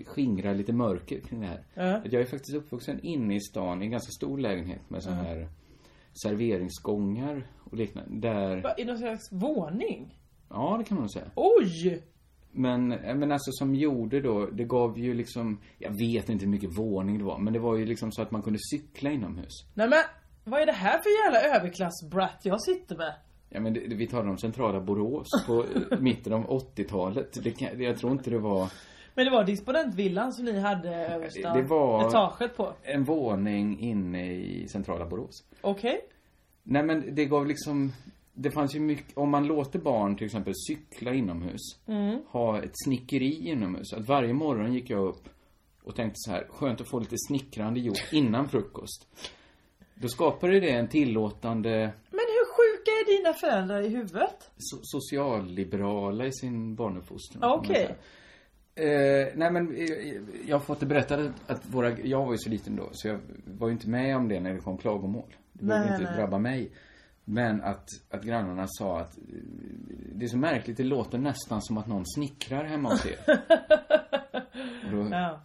[SPEAKER 6] skingra lite mörker kring det här.
[SPEAKER 7] Ja.
[SPEAKER 6] Att Jag är faktiskt uppvuxen inne i stan i en ganska stor lägenhet med sådana här serveringsgångar och liknande. Där,
[SPEAKER 7] Va, I någon slags våning?
[SPEAKER 6] ja det kan man nog säga.
[SPEAKER 7] Oj!
[SPEAKER 6] Men, eh, men alltså som gjorde då, det gav ju liksom, jag vet inte hur mycket våning det var, men det var ju liksom så att man kunde cykla inomhus.
[SPEAKER 7] Nej men, vad är det här för jävla överklassbrat jag sitter med?
[SPEAKER 6] Ja men det, det- vi talar om centrala Borås på eh, mitten av 80-talet. Det kan, jag tror inte det var
[SPEAKER 7] Men det var disponentvillan som ni hade översta
[SPEAKER 6] Det var-
[SPEAKER 7] etaget på.
[SPEAKER 6] en våning inne i centrala Borås.
[SPEAKER 7] Okej.
[SPEAKER 6] Nej men det gav liksom, det fanns ju mycket, om man låter barn till exempel cykla inomhus, ha ett snickeri inomhus. Att varje morgon gick jag upp och tänkte så här, skönt att få lite snickrande gjort innan frukost. Då skapade det en tillåtande
[SPEAKER 7] Men hur sjuka är dina föräldrar i huvudet?
[SPEAKER 6] so- socialliberala i sin barnuppfostran. kan man
[SPEAKER 7] Okej.
[SPEAKER 6] säga. Eh, nej men eh, jag har fått det berättat att våra, jag var ju så liten då så jag var ju inte med om det när det kom klagomål. Det behövde
[SPEAKER 7] Nej,
[SPEAKER 6] inte
[SPEAKER 7] nej.
[SPEAKER 6] drabba mig. Men att, att grannarna sa att eh, det är så märkligt, det låter nästan som att någon snickrar hemma hos er. Och då,
[SPEAKER 7] Ja.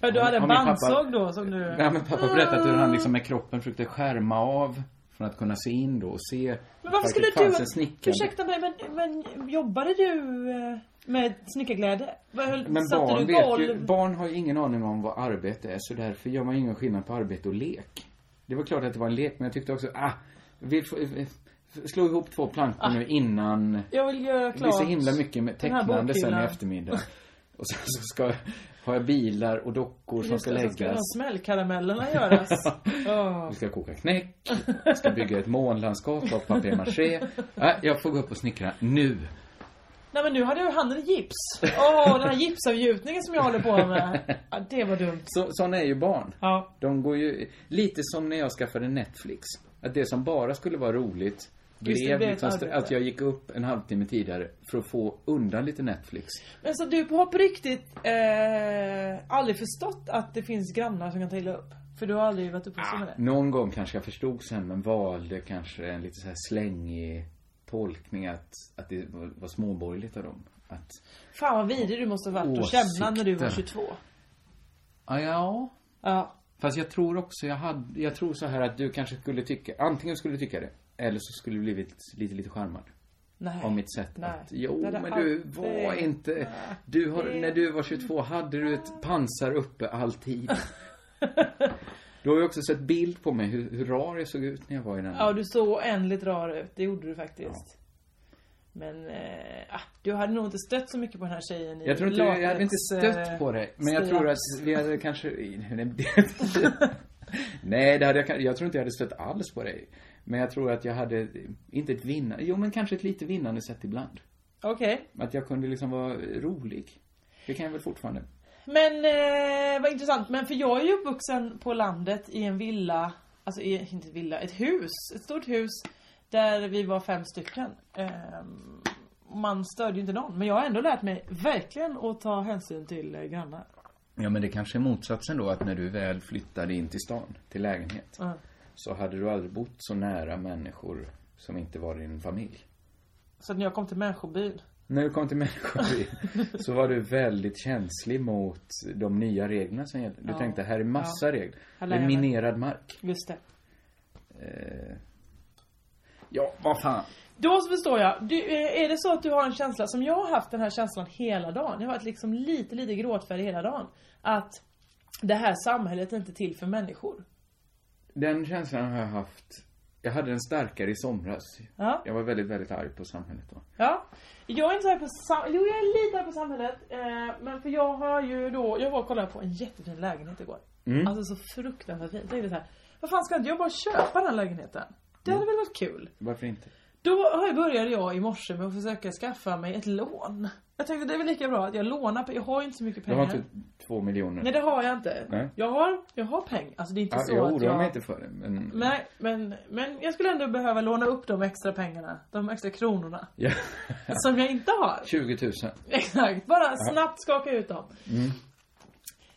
[SPEAKER 7] För du
[SPEAKER 6] Har-
[SPEAKER 7] hade en
[SPEAKER 6] har Eh, min
[SPEAKER 7] bandsåg
[SPEAKER 6] pappa-
[SPEAKER 7] då som du...
[SPEAKER 6] Nej men pappa berättade hur han liksom med kroppen försökte skärma av från att kunna se in då och se.
[SPEAKER 7] Men varför
[SPEAKER 6] att
[SPEAKER 7] skulle
[SPEAKER 6] det
[SPEAKER 7] du...
[SPEAKER 6] fanns en snickare.
[SPEAKER 7] Ursäkta mig men, men jobbade du eh, med snickarglädje? Vad höll-
[SPEAKER 6] Men
[SPEAKER 7] satte
[SPEAKER 6] barn,
[SPEAKER 7] du
[SPEAKER 6] vet
[SPEAKER 7] golv?
[SPEAKER 6] ju, barn har ju ingen aning om vad arbete är så därför gör man ingen skillnad på arbete och lek. Det var klart att det var en lek men jag tyckte också, ah, vi får, eh, slå ihop två plankor nu innan.
[SPEAKER 7] Jag vill göra
[SPEAKER 6] Det är
[SPEAKER 7] Ah. klart.
[SPEAKER 6] så himla mycket med
[SPEAKER 7] Den här
[SPEAKER 6] tecknande sen i
[SPEAKER 7] bokhyllan.
[SPEAKER 6] eftermiddag. Och sen så ska, har jag bilar och dockor som
[SPEAKER 7] Just
[SPEAKER 6] ska
[SPEAKER 7] det, så ska de
[SPEAKER 6] läggas.
[SPEAKER 7] här smällkaramellerna göras. Åh.
[SPEAKER 6] Vi ska koka knäck, vi ska bygga ett månlandskap av papier-maché. Ah, jag får gå upp och snickra nu.
[SPEAKER 7] Nej men nu hade jag handen i gips. Åh, den här gipsavgjutningen som jag håller på med. Ja, det var dumt.
[SPEAKER 6] Så, sådana är ju barn.
[SPEAKER 7] Ja.
[SPEAKER 6] De går ju, lite som när jag skaffade Netflix. Att det som bara skulle vara roligt
[SPEAKER 7] Just det,
[SPEAKER 6] blev
[SPEAKER 7] blev ett
[SPEAKER 6] liksom stra-
[SPEAKER 7] arbete.
[SPEAKER 6] att jag gick upp en halvtimme tidigare för att få undan lite Netflix.
[SPEAKER 7] Men så du har på riktigt eh, aldrig förstått att det finns grannar som kan ta illa upp? För du har aldrig varit uppvuxen
[SPEAKER 6] Ah.
[SPEAKER 7] med det?
[SPEAKER 6] Någon gång kanske jag förstod sen men valde kanske en lite så här slängig tolkning att, att det var, var småborgerligt av dem. Att,
[SPEAKER 7] Fan vad vidrig du måste ha varit och känna när du var
[SPEAKER 6] Åsikter.
[SPEAKER 7] 22.
[SPEAKER 6] ah, ja.
[SPEAKER 7] Ja.
[SPEAKER 6] Fast jag tror också jag hade, jag tror så här att du kanske skulle tycka, antingen skulle du tycka det. Eller så skulle du blivit lite, lite charmad.
[SPEAKER 7] Nej.
[SPEAKER 6] Av mitt sätt
[SPEAKER 7] Nej.
[SPEAKER 6] att, jo
[SPEAKER 7] Det hade
[SPEAKER 6] men du
[SPEAKER 7] aldrig-
[SPEAKER 6] var inte, du har, när du var 22 hade du ett pansar uppe alltid. du har ju också sett bild på mig hur, hur rar jag såg ut när jag var i den.
[SPEAKER 7] Ja, du såg oändligt rar ut. Det gjorde du faktiskt. Men eh, ah, du hade nog inte stött så mycket på den här tjejen i
[SPEAKER 6] Jag tror inte, jag hade inte
[SPEAKER 7] eh,
[SPEAKER 6] stött på det. Men jag tror att vi hade kanske... Nej, det hade jag, kan- jag tror inte jag hade stött alls på dig. Men jag tror att jag hade, inte ett vinnande, jo men kanske ett lite vinnande sätt ibland.
[SPEAKER 7] Okej.
[SPEAKER 6] Att jag kunde liksom vara rolig. Det kan jag väl fortfarande.
[SPEAKER 7] Men eh, vad intressant. Men för jag är ju uppvuxen på landet i en villa. Alltså i, inte villa, ett hus. Ett stort hus. Där vi var fem stycken. Ehm, man störde ju inte någon. Men jag har ändå lärt mig verkligen att ta hänsyn till eh, grannar.
[SPEAKER 6] Ja men det kanske är motsatsen då att när du väl flyttade in till stan, till lägenhet.
[SPEAKER 7] Mm.
[SPEAKER 6] Så hade du aldrig bott så nära människor som inte var din familj.
[SPEAKER 7] Så att när jag kom till människobyn.
[SPEAKER 6] När du kom till människor så var du väldigt känslig mot de nya reglerna som gällde. Du
[SPEAKER 7] Ja.
[SPEAKER 6] tänkte, här är massa regler. Det
[SPEAKER 7] Här lär
[SPEAKER 6] är
[SPEAKER 7] jag mig.
[SPEAKER 6] minerad mark.
[SPEAKER 7] Just det.
[SPEAKER 6] Ja, vad fan.
[SPEAKER 7] Då så förstår jag. Du, eh, är det så att du har en känsla som jag har haft den här känslan hela dagen. Jag har varit liksom lite, lite gråtfärdig hela dagen. Att det här samhället är inte till för människor.
[SPEAKER 6] Den känslan har jag haft. Jag hade den starkare i somras.
[SPEAKER 7] Ja.
[SPEAKER 6] Jag var väldigt, väldigt arg på samhället då.
[SPEAKER 7] Ja, jag är inte så här på samhället. Jo, jag är lite här på samhället. Eh, men för jag har ju då, jag var och kollade på en jättefin lägenhet igår.
[SPEAKER 6] Mm.
[SPEAKER 7] Alltså så fruktansvärt fint. Jag tänkte så här, vad fan ska inte jag bara köpa den lägenheten? Det
[SPEAKER 6] Mm.
[SPEAKER 7] hade väl varit kul.
[SPEAKER 6] Varför inte?
[SPEAKER 7] Då har jag- började jag i morse med att försöka skaffa mig ett lån. Jag tänkte det är väl lika bra att jag lånar, pe- jag har ju inte så mycket
[SPEAKER 6] Jag
[SPEAKER 7] pengar.
[SPEAKER 6] har inte två miljoner.
[SPEAKER 7] Nej det har jag inte.
[SPEAKER 6] Nej. Ah,
[SPEAKER 7] Jag har, jag har pengar. Alltså det är inte
[SPEAKER 6] ja,
[SPEAKER 7] så
[SPEAKER 6] jag
[SPEAKER 7] att
[SPEAKER 6] oroar
[SPEAKER 7] jag...
[SPEAKER 6] mig inte för det, men...
[SPEAKER 7] Nej, men, men jag skulle ändå behöva låna upp de extra pengarna. De extra kronorna.
[SPEAKER 6] Ja.
[SPEAKER 7] Som jag inte har.
[SPEAKER 6] 20 000.
[SPEAKER 7] Exakt, bara snabbt skaka ut dem.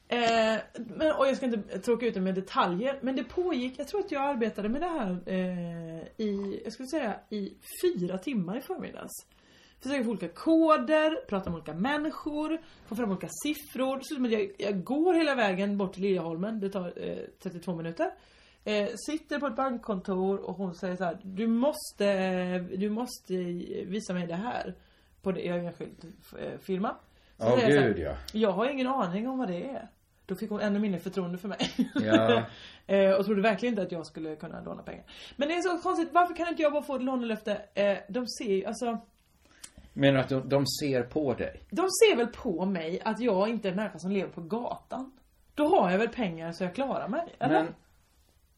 [SPEAKER 7] Eh, men, och jag ska inte tråka ut det med detaljer, men det pågick, jag tror att jag arbetade med det här eh, i, jag skulle säga i fyra timmar i förmiddags. Försöka få olika koder, prata med olika människor, få fram olika siffror. Det slutar med att jag, jag går hela vägen bort till Liljeholmen, det tar eh, 32 minuter. Eh, sitter på ett bankkontor och hon säger så här, du måste, eh, du måste eh, visa mig det här. På det, jag är enskild eh, firma. Så
[SPEAKER 6] Åh,
[SPEAKER 7] säger jag så här,
[SPEAKER 6] gud, ja.
[SPEAKER 7] Jag har ingen aning om vad det är. Då fick hon ännu mindre förtroende för mig.
[SPEAKER 6] Ja.
[SPEAKER 7] Eh, och trodde verkligen inte att jag skulle kunna låna pengar. Men det är så konstigt, varför kan inte jag bara få ett lånelöfte? Eh, de ser ju, alltså
[SPEAKER 6] Menar du att de, de ser på dig?
[SPEAKER 7] de ser väl på mig att jag inte är en människa som lever på gatan. Då har jag väl pengar så jag klarar mig, eller?
[SPEAKER 6] Men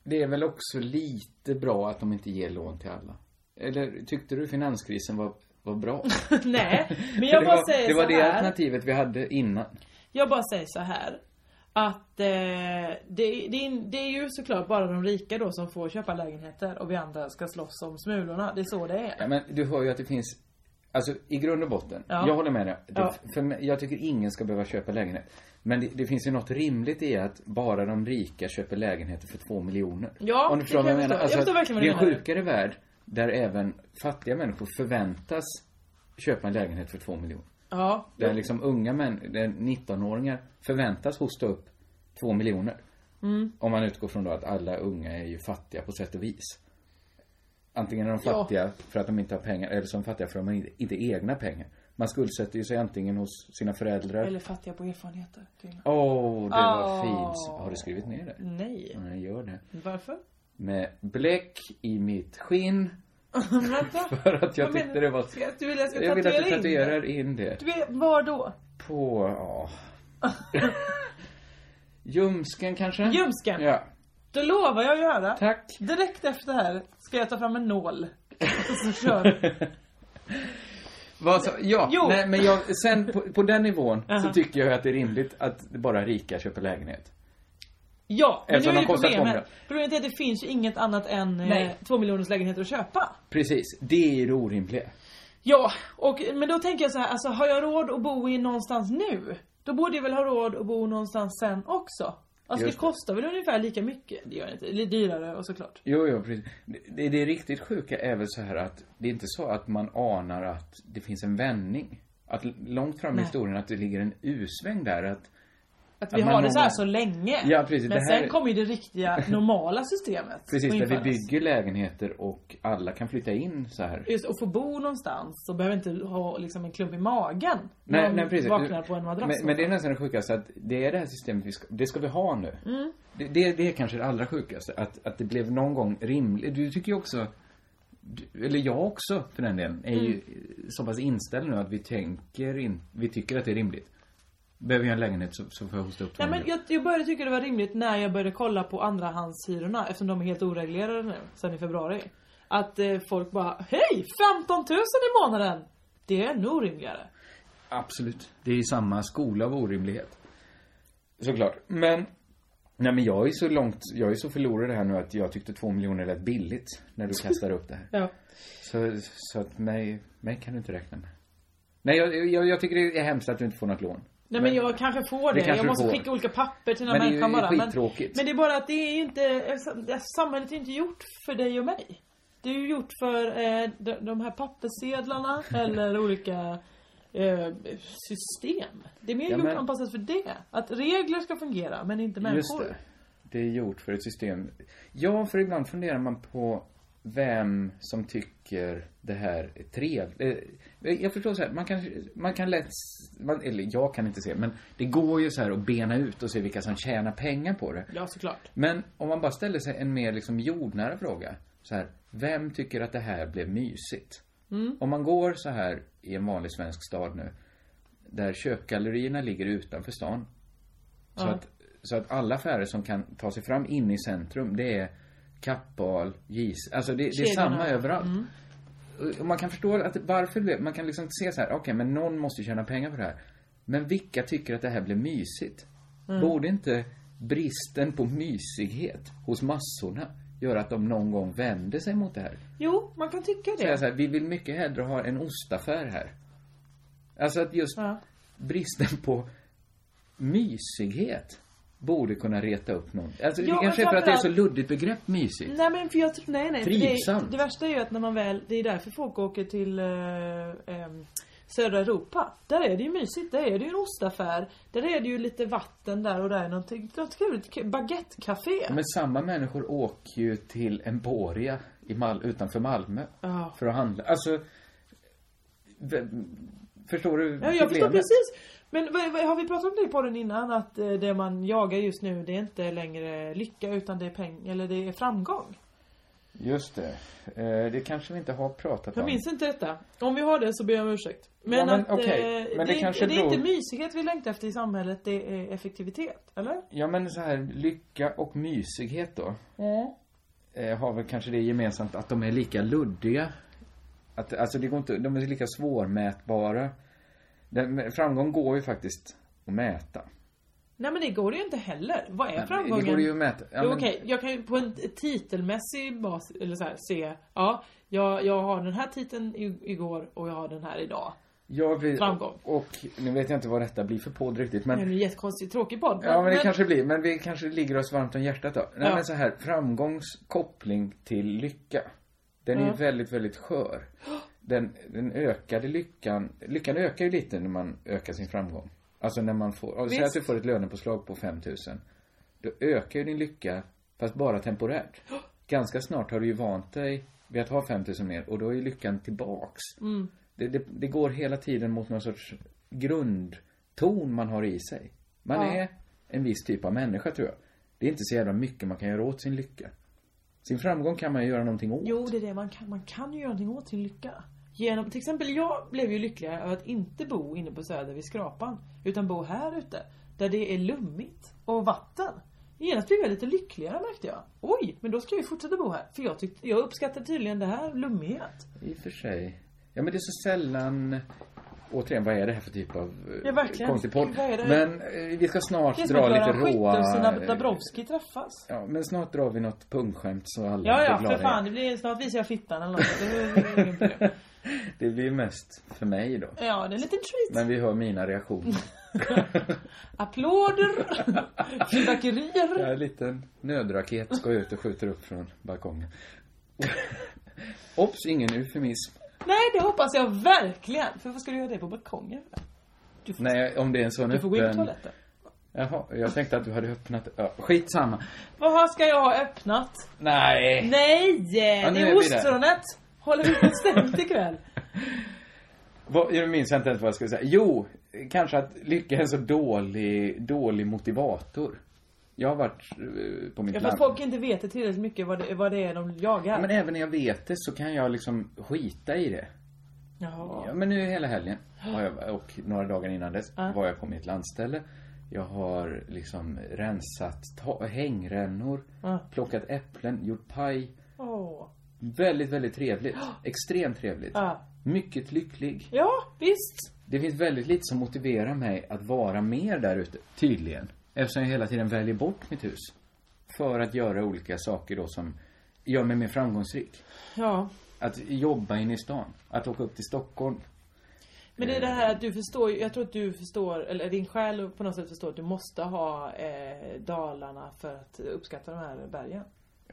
[SPEAKER 6] det är väl också lite bra att de inte ger lån till alla? Eller tyckte du finanskrisen var, var bra?
[SPEAKER 7] Nej, men
[SPEAKER 6] För
[SPEAKER 7] jag
[SPEAKER 6] det
[SPEAKER 7] bara
[SPEAKER 6] var,
[SPEAKER 7] säger
[SPEAKER 6] Det var
[SPEAKER 7] så
[SPEAKER 6] det
[SPEAKER 7] här.
[SPEAKER 6] alternativet vi hade innan.
[SPEAKER 7] Jag bara säger så här. Att eh, det, det, är- det är ju såklart bara de rika då som får köpa lägenheter och vi andra ska slåss om smulorna. Det är så det är.
[SPEAKER 6] Ja, men du hör ju att det finns Alltså i grund och botten,
[SPEAKER 7] Ja.
[SPEAKER 6] jag håller med dig. Det,
[SPEAKER 7] Ja.
[SPEAKER 6] för mig, jag tycker ingen ska behöva köpa lägenhet. Men det, det finns ju något rimligt i att bara de rika köper lägenheter för två miljoner.
[SPEAKER 7] Ja,
[SPEAKER 6] Om du
[SPEAKER 7] det
[SPEAKER 6] förstår
[SPEAKER 7] kan
[SPEAKER 6] vad jag
[SPEAKER 7] jag
[SPEAKER 6] menar.
[SPEAKER 7] förstå.
[SPEAKER 6] Alltså,
[SPEAKER 7] Jag förstår verkligen vad
[SPEAKER 6] det är
[SPEAKER 7] du
[SPEAKER 6] en
[SPEAKER 7] menar.
[SPEAKER 6] sjukare värld där även fattiga människor förväntas köpa en lägenhet för två miljoner.
[SPEAKER 7] Ja.
[SPEAKER 6] Där liksom unga män, där 19-åringar förväntas hosta upp två miljoner.
[SPEAKER 7] Mm.
[SPEAKER 6] Om man utgår från då att alla unga är ju fattiga på sätt och vis. Antingen är de fattiga för att de inte har pengar eller så är de fattiga för att de inte- inte har egna pengar. Man skuldsätter ju sig antingen hos sina föräldrar.
[SPEAKER 7] Eller fattiga på erfarenheter. Till.
[SPEAKER 6] Åh, det var
[SPEAKER 7] Åh.
[SPEAKER 6] fint. Har du skrivit ner det?
[SPEAKER 7] Nej.
[SPEAKER 6] Nej, gör det.
[SPEAKER 7] Varför?
[SPEAKER 6] Med bläck i mitt skinn.
[SPEAKER 7] Vänta.
[SPEAKER 6] För att jag
[SPEAKER 7] Vad
[SPEAKER 6] tyckte
[SPEAKER 7] menar
[SPEAKER 6] det var...
[SPEAKER 7] Ska- Du vill att jag ska
[SPEAKER 6] Jag vill att du
[SPEAKER 7] tatuera in det?
[SPEAKER 6] tatuerar in det.
[SPEAKER 7] Du vet, var då?
[SPEAKER 6] På, ja... Ljumsken kanske?
[SPEAKER 7] Ljumsken?
[SPEAKER 6] Ja.
[SPEAKER 7] Det lovar jag att göra.
[SPEAKER 6] Tack.
[SPEAKER 7] Direkt efter det här ska jag ta fram en nål. Och så kör vi.
[SPEAKER 6] Vad sa- ja,
[SPEAKER 7] Jo.
[SPEAKER 6] Nej, men jag, sen på, på den nivån så tycker jag att det är rimligt att bara rika köper lägenhet.
[SPEAKER 7] Ja, men nu
[SPEAKER 6] Eftersom de
[SPEAKER 7] är ju
[SPEAKER 6] kostar två
[SPEAKER 7] problemet.
[SPEAKER 6] miljoner.
[SPEAKER 7] Problemet är att det finns ju inget annat än eh,
[SPEAKER 6] Nej.
[SPEAKER 7] två miljoners lägenheter att köpa.
[SPEAKER 6] Precis, det är ju det orimliga.
[SPEAKER 7] Ja, och, men då tänker jag så här, alltså har jag råd att bo i någonstans nu? Då borde jag väl ha råd att bo någonstans sen också? Alltså
[SPEAKER 6] Just
[SPEAKER 7] det
[SPEAKER 6] det.
[SPEAKER 7] kostar väl ungefär lika mycket? Det gör det inte, lite dyrare och såklart.
[SPEAKER 6] Jo, jo, precis. Det, det är riktigt sjuka är väl så här att det är inte så att man anar att det finns en vändning. Att l- långt fram i
[SPEAKER 7] Nej.
[SPEAKER 6] historien att det ligger en U-sväng där att
[SPEAKER 7] Att vi
[SPEAKER 6] Att man
[SPEAKER 7] har det så här
[SPEAKER 6] har-
[SPEAKER 7] så länge.
[SPEAKER 6] Ja, precis,
[SPEAKER 7] men
[SPEAKER 6] det här-
[SPEAKER 7] sen kommer ju det riktiga normala systemet
[SPEAKER 6] precis
[SPEAKER 7] att
[SPEAKER 6] där vi
[SPEAKER 7] införas.
[SPEAKER 6] bygger lägenheter och alla kan flytta in så här.
[SPEAKER 7] Just och få bo någonstans och behöver inte ha liksom en klump i magen. när
[SPEAKER 6] Nej,
[SPEAKER 7] man
[SPEAKER 6] nej precis.
[SPEAKER 7] vaknar på en madrass.
[SPEAKER 6] men, men det är nästan det sjukaste att det är det här systemet vi ska, det ska vi ha nu.
[SPEAKER 7] Mm.
[SPEAKER 6] Det, det, det är kanske det allra sjukaste. Att, att det blev någon gång rimligt. Du tycker ju också du- eller jag också för den delen, är ju
[SPEAKER 7] Mm.
[SPEAKER 6] så pass inställd nu att vi tänker in, vi tycker att det är rimligt. Behöver jag en lägenhet så, så får jag hosta upp
[SPEAKER 7] Nej, men
[SPEAKER 6] 200.
[SPEAKER 7] jag, jag började tycka det var rimligt när jag började kolla på andrahandshyrorna eftersom de är helt oreglerade nu sen i februari. Att eh, folk bara Hej! 15 000 i månaden! Det är ännu orimligare.
[SPEAKER 6] Absolut. Det är ju samma skola av orimlighet. Såklart. Men, nej men jag är så långt, jag är så förlorad här nu att jag tyckte två miljoner lät billigt när du kastar upp det här.
[SPEAKER 7] Ja.
[SPEAKER 6] Så, så att mig, mig kan du inte räkna med. Nej, jag, jag, jag tycker det är hemskt att du inte får något lån.
[SPEAKER 7] Nej men jag kanske får det.
[SPEAKER 6] Det kanske
[SPEAKER 7] jag
[SPEAKER 6] du
[SPEAKER 7] måste
[SPEAKER 6] får.
[SPEAKER 7] skicka olika papper till den
[SPEAKER 6] Men
[SPEAKER 7] här
[SPEAKER 6] det är ju
[SPEAKER 7] människan bara. Men,
[SPEAKER 6] skittråkigt.
[SPEAKER 7] men det är bara att det är ju inte, samhället är ju inte gjort för dig och mig. Det är ju gjort för eh, de, de här papperssedlarna eller olika eh, system. Det är mer
[SPEAKER 6] Ja,
[SPEAKER 7] gjort
[SPEAKER 6] men-
[SPEAKER 7] anpassat för det. Att regler ska fungera men inte människor.
[SPEAKER 6] Just det. Det är gjort för ett system. Ja, för ibland funderar man på vem som tycker det här är trevligt. Eh, Jag förstår så här, man kan, man kan lätt, man, eller jag kan inte se, men det går ju så här att bena ut och se vilka som tjänar pengar på det.
[SPEAKER 7] Ja såklart.
[SPEAKER 6] Men om man bara ställer sig en mer liksom jordnära fråga. Så här, vem tycker att det här blev mysigt? Om man går så här i en vanlig svensk stad nu. Där köpgallerierna ligger utanför stan. Så, att, så att alla affärer som kan ta sig fram in i centrum, det är Kappahl, Gis, alltså det, det är
[SPEAKER 7] Kedjorna. Mm.
[SPEAKER 6] samma överallt. Och- Och man kan förstå att varför det blev, man kan liksom se så här, okej men någon måste ju tjäna pengar på det här. Men vilka tycker att det här blev mysigt?
[SPEAKER 7] Mm.
[SPEAKER 6] Borde inte bristen på mysighet hos massorna göra att de någon gång vände sig mot det här?
[SPEAKER 7] Jo, man kan tycka det.
[SPEAKER 6] Säga så här, vi vill mycket hellre ha en ostaffär här. Alltså att just
[SPEAKER 7] Ja.
[SPEAKER 6] bristen på mysighet borde kunna reta upp någon. Alltså
[SPEAKER 7] Ja,
[SPEAKER 6] det
[SPEAKER 7] men
[SPEAKER 6] kanske är för att det är så
[SPEAKER 7] framförallt-
[SPEAKER 6] luddigt begrepp mysigt.
[SPEAKER 7] Nej men för jag tror, nej nej. för Det,
[SPEAKER 6] Trivsamt.
[SPEAKER 7] det värsta är ju att när man väl, det är därför folk åker till eh, ehm, södra Europa. Där är det ju mysigt, där är det ju en ostaffär. Där är det ju lite vatten där och där är någonting, något kul, ett k- baguettecafé.
[SPEAKER 6] Men samma människor åker ju till Emporia i Mal- utanför Malmö
[SPEAKER 7] Ja.
[SPEAKER 6] för att handla. Alltså, vem- förstår du
[SPEAKER 7] Ja, jag förstår precis. Men vad, vad, har vi pratat om det på den innan? Att eh, det man jagar just nu det är inte längre lycka utan det är peng, eller det är framgång.
[SPEAKER 6] Just det. Eh, det kanske vi inte har pratat
[SPEAKER 7] Jag
[SPEAKER 6] om.
[SPEAKER 7] minns inte detta. Om vi har det så ber jag om ursäkt. Men,
[SPEAKER 6] Ja, men
[SPEAKER 7] att, eh,
[SPEAKER 6] okej. Men det
[SPEAKER 7] det, är
[SPEAKER 6] kanske
[SPEAKER 7] inte- det är inte
[SPEAKER 6] beror-
[SPEAKER 7] mysighet vi längtar efter i samhället, det är effektivitet. Eller?
[SPEAKER 6] Ja, men så här, lycka och mysighet då. Eh, har väl kanske det gemensamt att de är lika luddiga. Att, alltså, det går inte, de är lika svårmätbara. Den, men framgång går ju faktiskt att mäta.
[SPEAKER 7] Nej men det går det ju inte heller. Vad är
[SPEAKER 6] Men
[SPEAKER 7] framgången?
[SPEAKER 6] Det går ju att mäta. Ja,
[SPEAKER 7] Jo,
[SPEAKER 6] men-
[SPEAKER 7] Okej, jag kan ju på en titelmässig bas eller så här, se, ja, jag, jag har den här titeln i, igår och jag har den här idag.
[SPEAKER 6] Jag vill,
[SPEAKER 7] Framgång.
[SPEAKER 6] Och, nu vet jag inte vad detta blir för podd riktigt
[SPEAKER 7] Det är
[SPEAKER 6] men
[SPEAKER 7] en jättekonstig, tråkig podd.
[SPEAKER 6] Ja men det kanske blir, men vi kanske ligger oss varmt om hjärtat då. Nej
[SPEAKER 7] Ja.
[SPEAKER 6] men så här, framgångskoppling till lycka. Den är ju väldigt, väldigt skör. Den, den ökade lyckan, lyckan ökar ju lite när man ökar sin framgång. Alltså när man får, ja, säg
[SPEAKER 7] Visst.
[SPEAKER 6] att du får ett lönepåslag på 5000. Då ökar ju din lycka, fast bara temporärt. Ganska snart har du ju vant dig vid att ha 5000 mer och då är ju lyckan tillbaks.
[SPEAKER 7] Mm.
[SPEAKER 6] Det, det, det går hela tiden mot någon sorts grundton man har i sig. Man är en viss typ av människa tror jag. Det är inte så jävla mycket man kan göra åt sin lycka. Sin framgång kan man ju göra någonting åt.
[SPEAKER 7] Jo, det är det man kan. Man kan ju göra någonting åt sin lycka. Genom, till exempel jag blev ju lyckligare av att inte bo inne på Söder vid Skrapan. Utan bo här ute. Där det är lummigt. Och vatten. Genast blev jag lite lyckligare märkte jag. Oj, men då ska jag ju fortsätta bo här. För jag, tyckte, jag uppskattar tydligen det här, lummighet.
[SPEAKER 6] I och för sig. Ja men det är så sällan Återigen, vad är det här för typ av eh,
[SPEAKER 7] Ja, verkligen.
[SPEAKER 6] konstig podd?
[SPEAKER 7] Vad är det?
[SPEAKER 6] Men eh, vi ska snart
[SPEAKER 7] Det är som
[SPEAKER 6] dra
[SPEAKER 7] att
[SPEAKER 6] lite
[SPEAKER 7] Göran Skytte
[SPEAKER 6] råa...
[SPEAKER 7] och Sina
[SPEAKER 6] eh,
[SPEAKER 7] Dabrowski träffas.
[SPEAKER 6] Ja, men snart drar vi något pungskämt så alla
[SPEAKER 7] Ja, ja,
[SPEAKER 6] blir glada.
[SPEAKER 7] för fan. Det blir, snart visar jag fittan eller något. Det är ingen problem.
[SPEAKER 6] Det blir mest för mig då.
[SPEAKER 7] Ja, det är en liten treat.
[SPEAKER 6] Men vi hör mina reaktioner.
[SPEAKER 7] Applåder. Fyrverkerier.
[SPEAKER 6] Ja, En liten nödraket går ut och skjuter upp från balkongen. Ops, ingen eufemism.
[SPEAKER 7] Nej, det hoppas jag verkligen. För vad ska du göra det på balkongen? för?
[SPEAKER 6] Nej, om det är en sån
[SPEAKER 7] Du får gå in på
[SPEAKER 6] öppen...
[SPEAKER 7] toaletten.
[SPEAKER 6] Jaha, jag tänkte att du hade öppnat... Ja, skitsamma.
[SPEAKER 7] Vad ska jag ha öppnat?
[SPEAKER 6] Nej!
[SPEAKER 7] Nej!
[SPEAKER 6] nu
[SPEAKER 7] det
[SPEAKER 6] är
[SPEAKER 7] är
[SPEAKER 6] vi där.
[SPEAKER 7] ostronet! Håller vi på stängt ikväll?
[SPEAKER 6] Vad, jag minns inte ens vad jag skulle säga. Jo, kanske att lycka är en så dålig, dålig motivator. Jag har varit eh, på mitt
[SPEAKER 7] Ja, för
[SPEAKER 6] land.
[SPEAKER 7] att folk inte vet tillräckligt mycket vad det, vad det är de jagar.
[SPEAKER 6] Ja, men även när jag vet det så kan jag liksom skita i det.
[SPEAKER 7] Jaha.
[SPEAKER 6] Ja, men nu hela helgen har jag, och några dagar innan dess var jag på mitt landställe. Jag har liksom rensat ta- hängrännor,
[SPEAKER 7] Ja.
[SPEAKER 6] plockat äpplen, gjort paj.
[SPEAKER 7] Åh.
[SPEAKER 6] Väldigt, väldigt trevligt. Extremt trevligt.
[SPEAKER 7] Ja.
[SPEAKER 6] Mycket lycklig.
[SPEAKER 7] ja, visst.
[SPEAKER 6] Det finns väldigt lite som motiverar mig att vara mer där ute, tydligen. Eftersom jag hela tiden väljer bort mitt hus. För att göra olika saker då som gör mig mer framgångsrik.
[SPEAKER 7] Ja.
[SPEAKER 6] Att jobba inne i stan. Att åka upp till Stockholm.
[SPEAKER 7] Men det är det
[SPEAKER 6] Mm.
[SPEAKER 7] här att du förstår, jag tror att du förstår, eller din själ på något sätt förstår att du måste ha eh, Dalarna för att uppskatta de här bergen.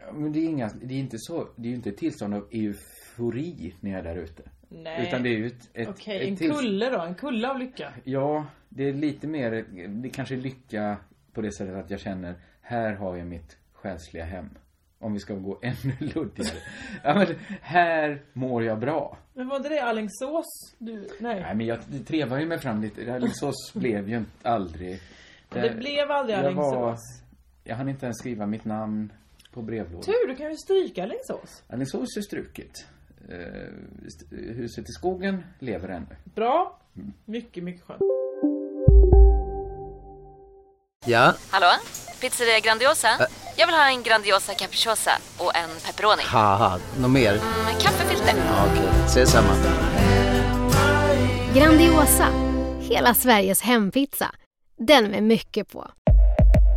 [SPEAKER 6] Ja, Men det är, inga, det är inte så, det är ju inte ett tillstånd av eufori när jag är där ute.
[SPEAKER 7] Nej.
[SPEAKER 6] Utan det är ju ett, ett,
[SPEAKER 7] Okej,
[SPEAKER 6] ett
[SPEAKER 7] en
[SPEAKER 6] tills-
[SPEAKER 7] kulle då, en kulle av lycka.
[SPEAKER 6] Ja, det är lite mer, det kanske är lycka på det sättet att jag känner, här har jag mitt själsliga hem. Om vi ska gå ännu luddigare. ja, men här mår jag bra.
[SPEAKER 7] Men var inte det Alingsås? Du, nej.
[SPEAKER 6] Nej, men jag trevar ju mig fram lite. Alingsås blev ju inte aldrig...
[SPEAKER 7] det blev aldrig
[SPEAKER 6] jag
[SPEAKER 7] Alingsås.
[SPEAKER 6] var, Jag hann inte ens skriva mitt namn på brevlådan.
[SPEAKER 7] Tur, du kan ju stryka Alingsås.
[SPEAKER 6] Alingsås är struket. Eh, st- huset i skogen lever ännu.
[SPEAKER 7] Bra.
[SPEAKER 6] Mm.
[SPEAKER 7] Mycket, mycket skönt.
[SPEAKER 1] Ja,
[SPEAKER 8] Hallå? Pizzeria Grandiosa? Jag vill ha en Grandiosa capriciosa och en pepperoni.
[SPEAKER 1] haha, något mer?
[SPEAKER 8] Med kaffefilter.
[SPEAKER 1] Ja, Okej, ses samma.
[SPEAKER 9] Grandiosa, hela Sveriges hempizza. Den med mycket på.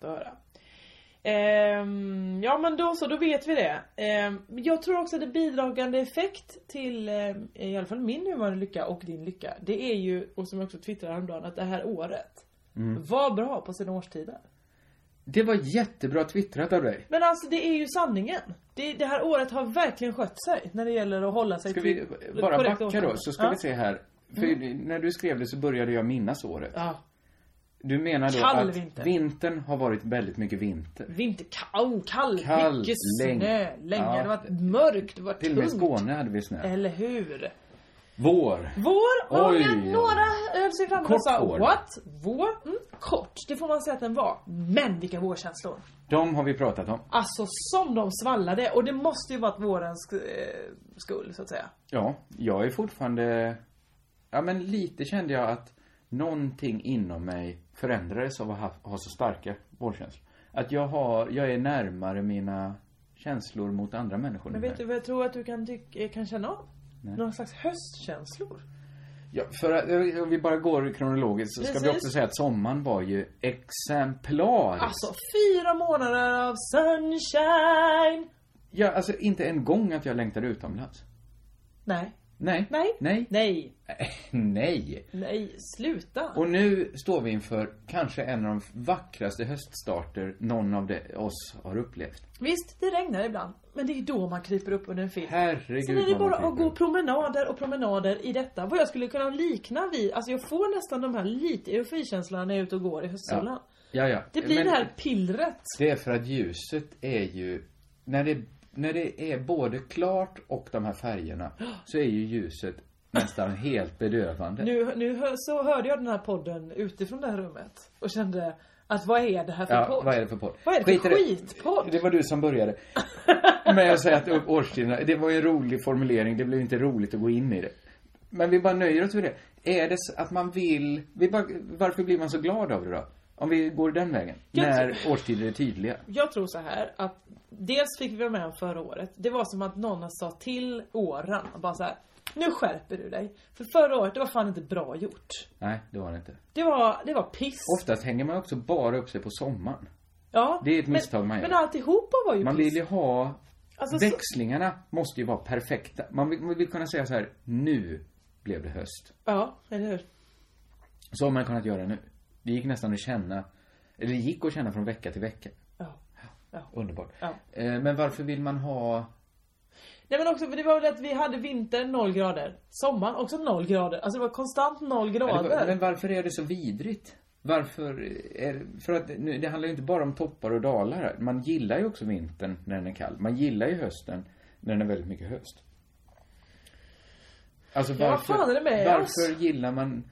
[SPEAKER 7] att höra. Ehm, ja men då så, då vet vi det. Ehm, men jag tror också att det bidragande effekt till ehm, i alla fall min nuvarande lycka och din lycka. Det är ju, och som jag också twittrade häromdagen, att det här året
[SPEAKER 6] Mm.
[SPEAKER 7] var bra på sina årstider.
[SPEAKER 6] Det var jättebra twittrat av dig.
[SPEAKER 7] Men alltså det är ju sanningen. Det, det här året har verkligen skött sig när det gäller att hålla sig
[SPEAKER 6] Ska vi
[SPEAKER 7] till
[SPEAKER 6] bara
[SPEAKER 7] korrekta
[SPEAKER 6] backa då,
[SPEAKER 7] årstider.
[SPEAKER 6] så ska
[SPEAKER 7] Ja. Mm.
[SPEAKER 6] vi se här. För när du skrev det så började jag minnas året.
[SPEAKER 7] Ja,
[SPEAKER 6] Du menar då
[SPEAKER 7] Kall
[SPEAKER 6] att
[SPEAKER 7] vinter.
[SPEAKER 6] vintern har varit väldigt mycket vinter.
[SPEAKER 7] vinter, kall, kall,
[SPEAKER 6] Kall,
[SPEAKER 7] mycket
[SPEAKER 6] länge.
[SPEAKER 7] snö, länge.
[SPEAKER 6] Ja.
[SPEAKER 7] Det har varit mörkt, det var
[SPEAKER 6] Till och med i Skåne hade vi snö.
[SPEAKER 7] Eller hur?
[SPEAKER 6] Vår.
[SPEAKER 7] Vår, och
[SPEAKER 6] Oj.
[SPEAKER 7] men några höll sig framme
[SPEAKER 6] Kort
[SPEAKER 7] och sa
[SPEAKER 6] vår.
[SPEAKER 7] what? Vår? Mm, kort, det får man säga att den var. Men vilka vårkänslor!
[SPEAKER 6] De har vi pratat om.
[SPEAKER 7] Alltså som de svallade och det måste ju varit vårens eh, skull så att säga.
[SPEAKER 6] Ja, jag är fortfarande... Ja, men lite kände jag att någonting inom mig förändrades av att ha, ha så starka vårkänslor. Att jag har, jag är närmare mina känslor mot andra människor
[SPEAKER 7] Men
[SPEAKER 6] nu.
[SPEAKER 7] vet du vad jag tror att du kan, tyck- eh, kan känna av? Någon slags höstkänslor.
[SPEAKER 6] Ja, för att, eh, om vi bara går kronologiskt så ska vi
[SPEAKER 7] Precis.
[SPEAKER 6] också säga att sommaren var ju exemplarisk.
[SPEAKER 7] Alltså fyra månader av sunshine!
[SPEAKER 6] Ja, alltså inte en gång att jag längtade utomlands.
[SPEAKER 7] Nej,
[SPEAKER 6] Nej.
[SPEAKER 7] nej,
[SPEAKER 6] Nej.
[SPEAKER 7] nej,
[SPEAKER 6] Nej.
[SPEAKER 7] nej, sluta!
[SPEAKER 6] Och nu står vi inför kanske en av de vackraste höststarter någon av de, oss har upplevt.
[SPEAKER 7] Visst, det regnar ibland. Men det är då man kryper upp under en filt.
[SPEAKER 6] Herregud,
[SPEAKER 7] Sen är det
[SPEAKER 6] vad man
[SPEAKER 7] bara att
[SPEAKER 6] kryper
[SPEAKER 7] gå
[SPEAKER 6] upp.
[SPEAKER 7] promenader och promenader i detta. Vad jag skulle kunna likna vid, alltså jag får nästan de här lite euforikänslorna när jag är ute och går i höstsolen.
[SPEAKER 6] Ja, ja.
[SPEAKER 7] Det blir
[SPEAKER 6] Men
[SPEAKER 7] det här pillret.
[SPEAKER 6] Det är för att ljuset är ju... När det, när det är både klart och de här färgerna så är ju ljuset nästan helt bedövande.
[SPEAKER 7] Nu, nu hö- så hörde jag den här podden utifrån det här rummet och kände att vad är det här för
[SPEAKER 6] Ja,
[SPEAKER 7] podd?
[SPEAKER 6] vad är det för podd?
[SPEAKER 7] Vad är det för
[SPEAKER 6] i det.
[SPEAKER 7] skitpodd?
[SPEAKER 6] Det var du som började. Men jag säger att årstiderna, det var ju en rolig formulering, det blev inte roligt att gå in i det. Men vi bara nöjer oss med det. Är det så att man vill, vi bara, varför blir man så glad av det då? Om vi går den vägen.
[SPEAKER 7] Jag
[SPEAKER 6] när årstider är tydliga.
[SPEAKER 7] Jag tror så här att dels fick vi vara med om förra året. Det var som att någon sa till åren bara så här. Nu skärper du dig. För förra året, det var fan inte bra gjort.
[SPEAKER 6] Nej, det var det inte.
[SPEAKER 7] Det var, det var piss.
[SPEAKER 6] Oftast hänger man också bara upp sig på sommaren.
[SPEAKER 7] Ja,
[SPEAKER 6] Det är ett misstag man gör.
[SPEAKER 7] Men alltihopa var ju
[SPEAKER 6] Man
[SPEAKER 7] piss.
[SPEAKER 6] vill ju ha...
[SPEAKER 7] Alltså, så-
[SPEAKER 6] växlingarna måste ju vara perfekta. Man vill, man vill kunna säga så här, nu blev det höst.
[SPEAKER 7] Ja, eller hur?
[SPEAKER 6] Så har man kunnat göra nu. Det gick nästan att känna, eller det gick att känna från vecka till vecka.
[SPEAKER 7] Ja. Ja.
[SPEAKER 6] Underbart.
[SPEAKER 7] Ja.
[SPEAKER 6] Eh, Men varför vill man ha...
[SPEAKER 7] Nej men också, för det var väl att vi hade vintern 0 grader. Sommaren också 0 grader. Alltså det var konstant 0
[SPEAKER 6] Eller,
[SPEAKER 7] grader.
[SPEAKER 6] men varför är det så vidrigt? Varför är, För att nu, det handlar ju inte bara om toppar och dalar här. Man gillar ju också vintern när den är kall. Man gillar ju hösten när den är väldigt mycket höst. Alltså
[SPEAKER 7] Ja, vad
[SPEAKER 6] varför,
[SPEAKER 7] fan är det med
[SPEAKER 6] varför
[SPEAKER 7] oss?
[SPEAKER 6] gillar man...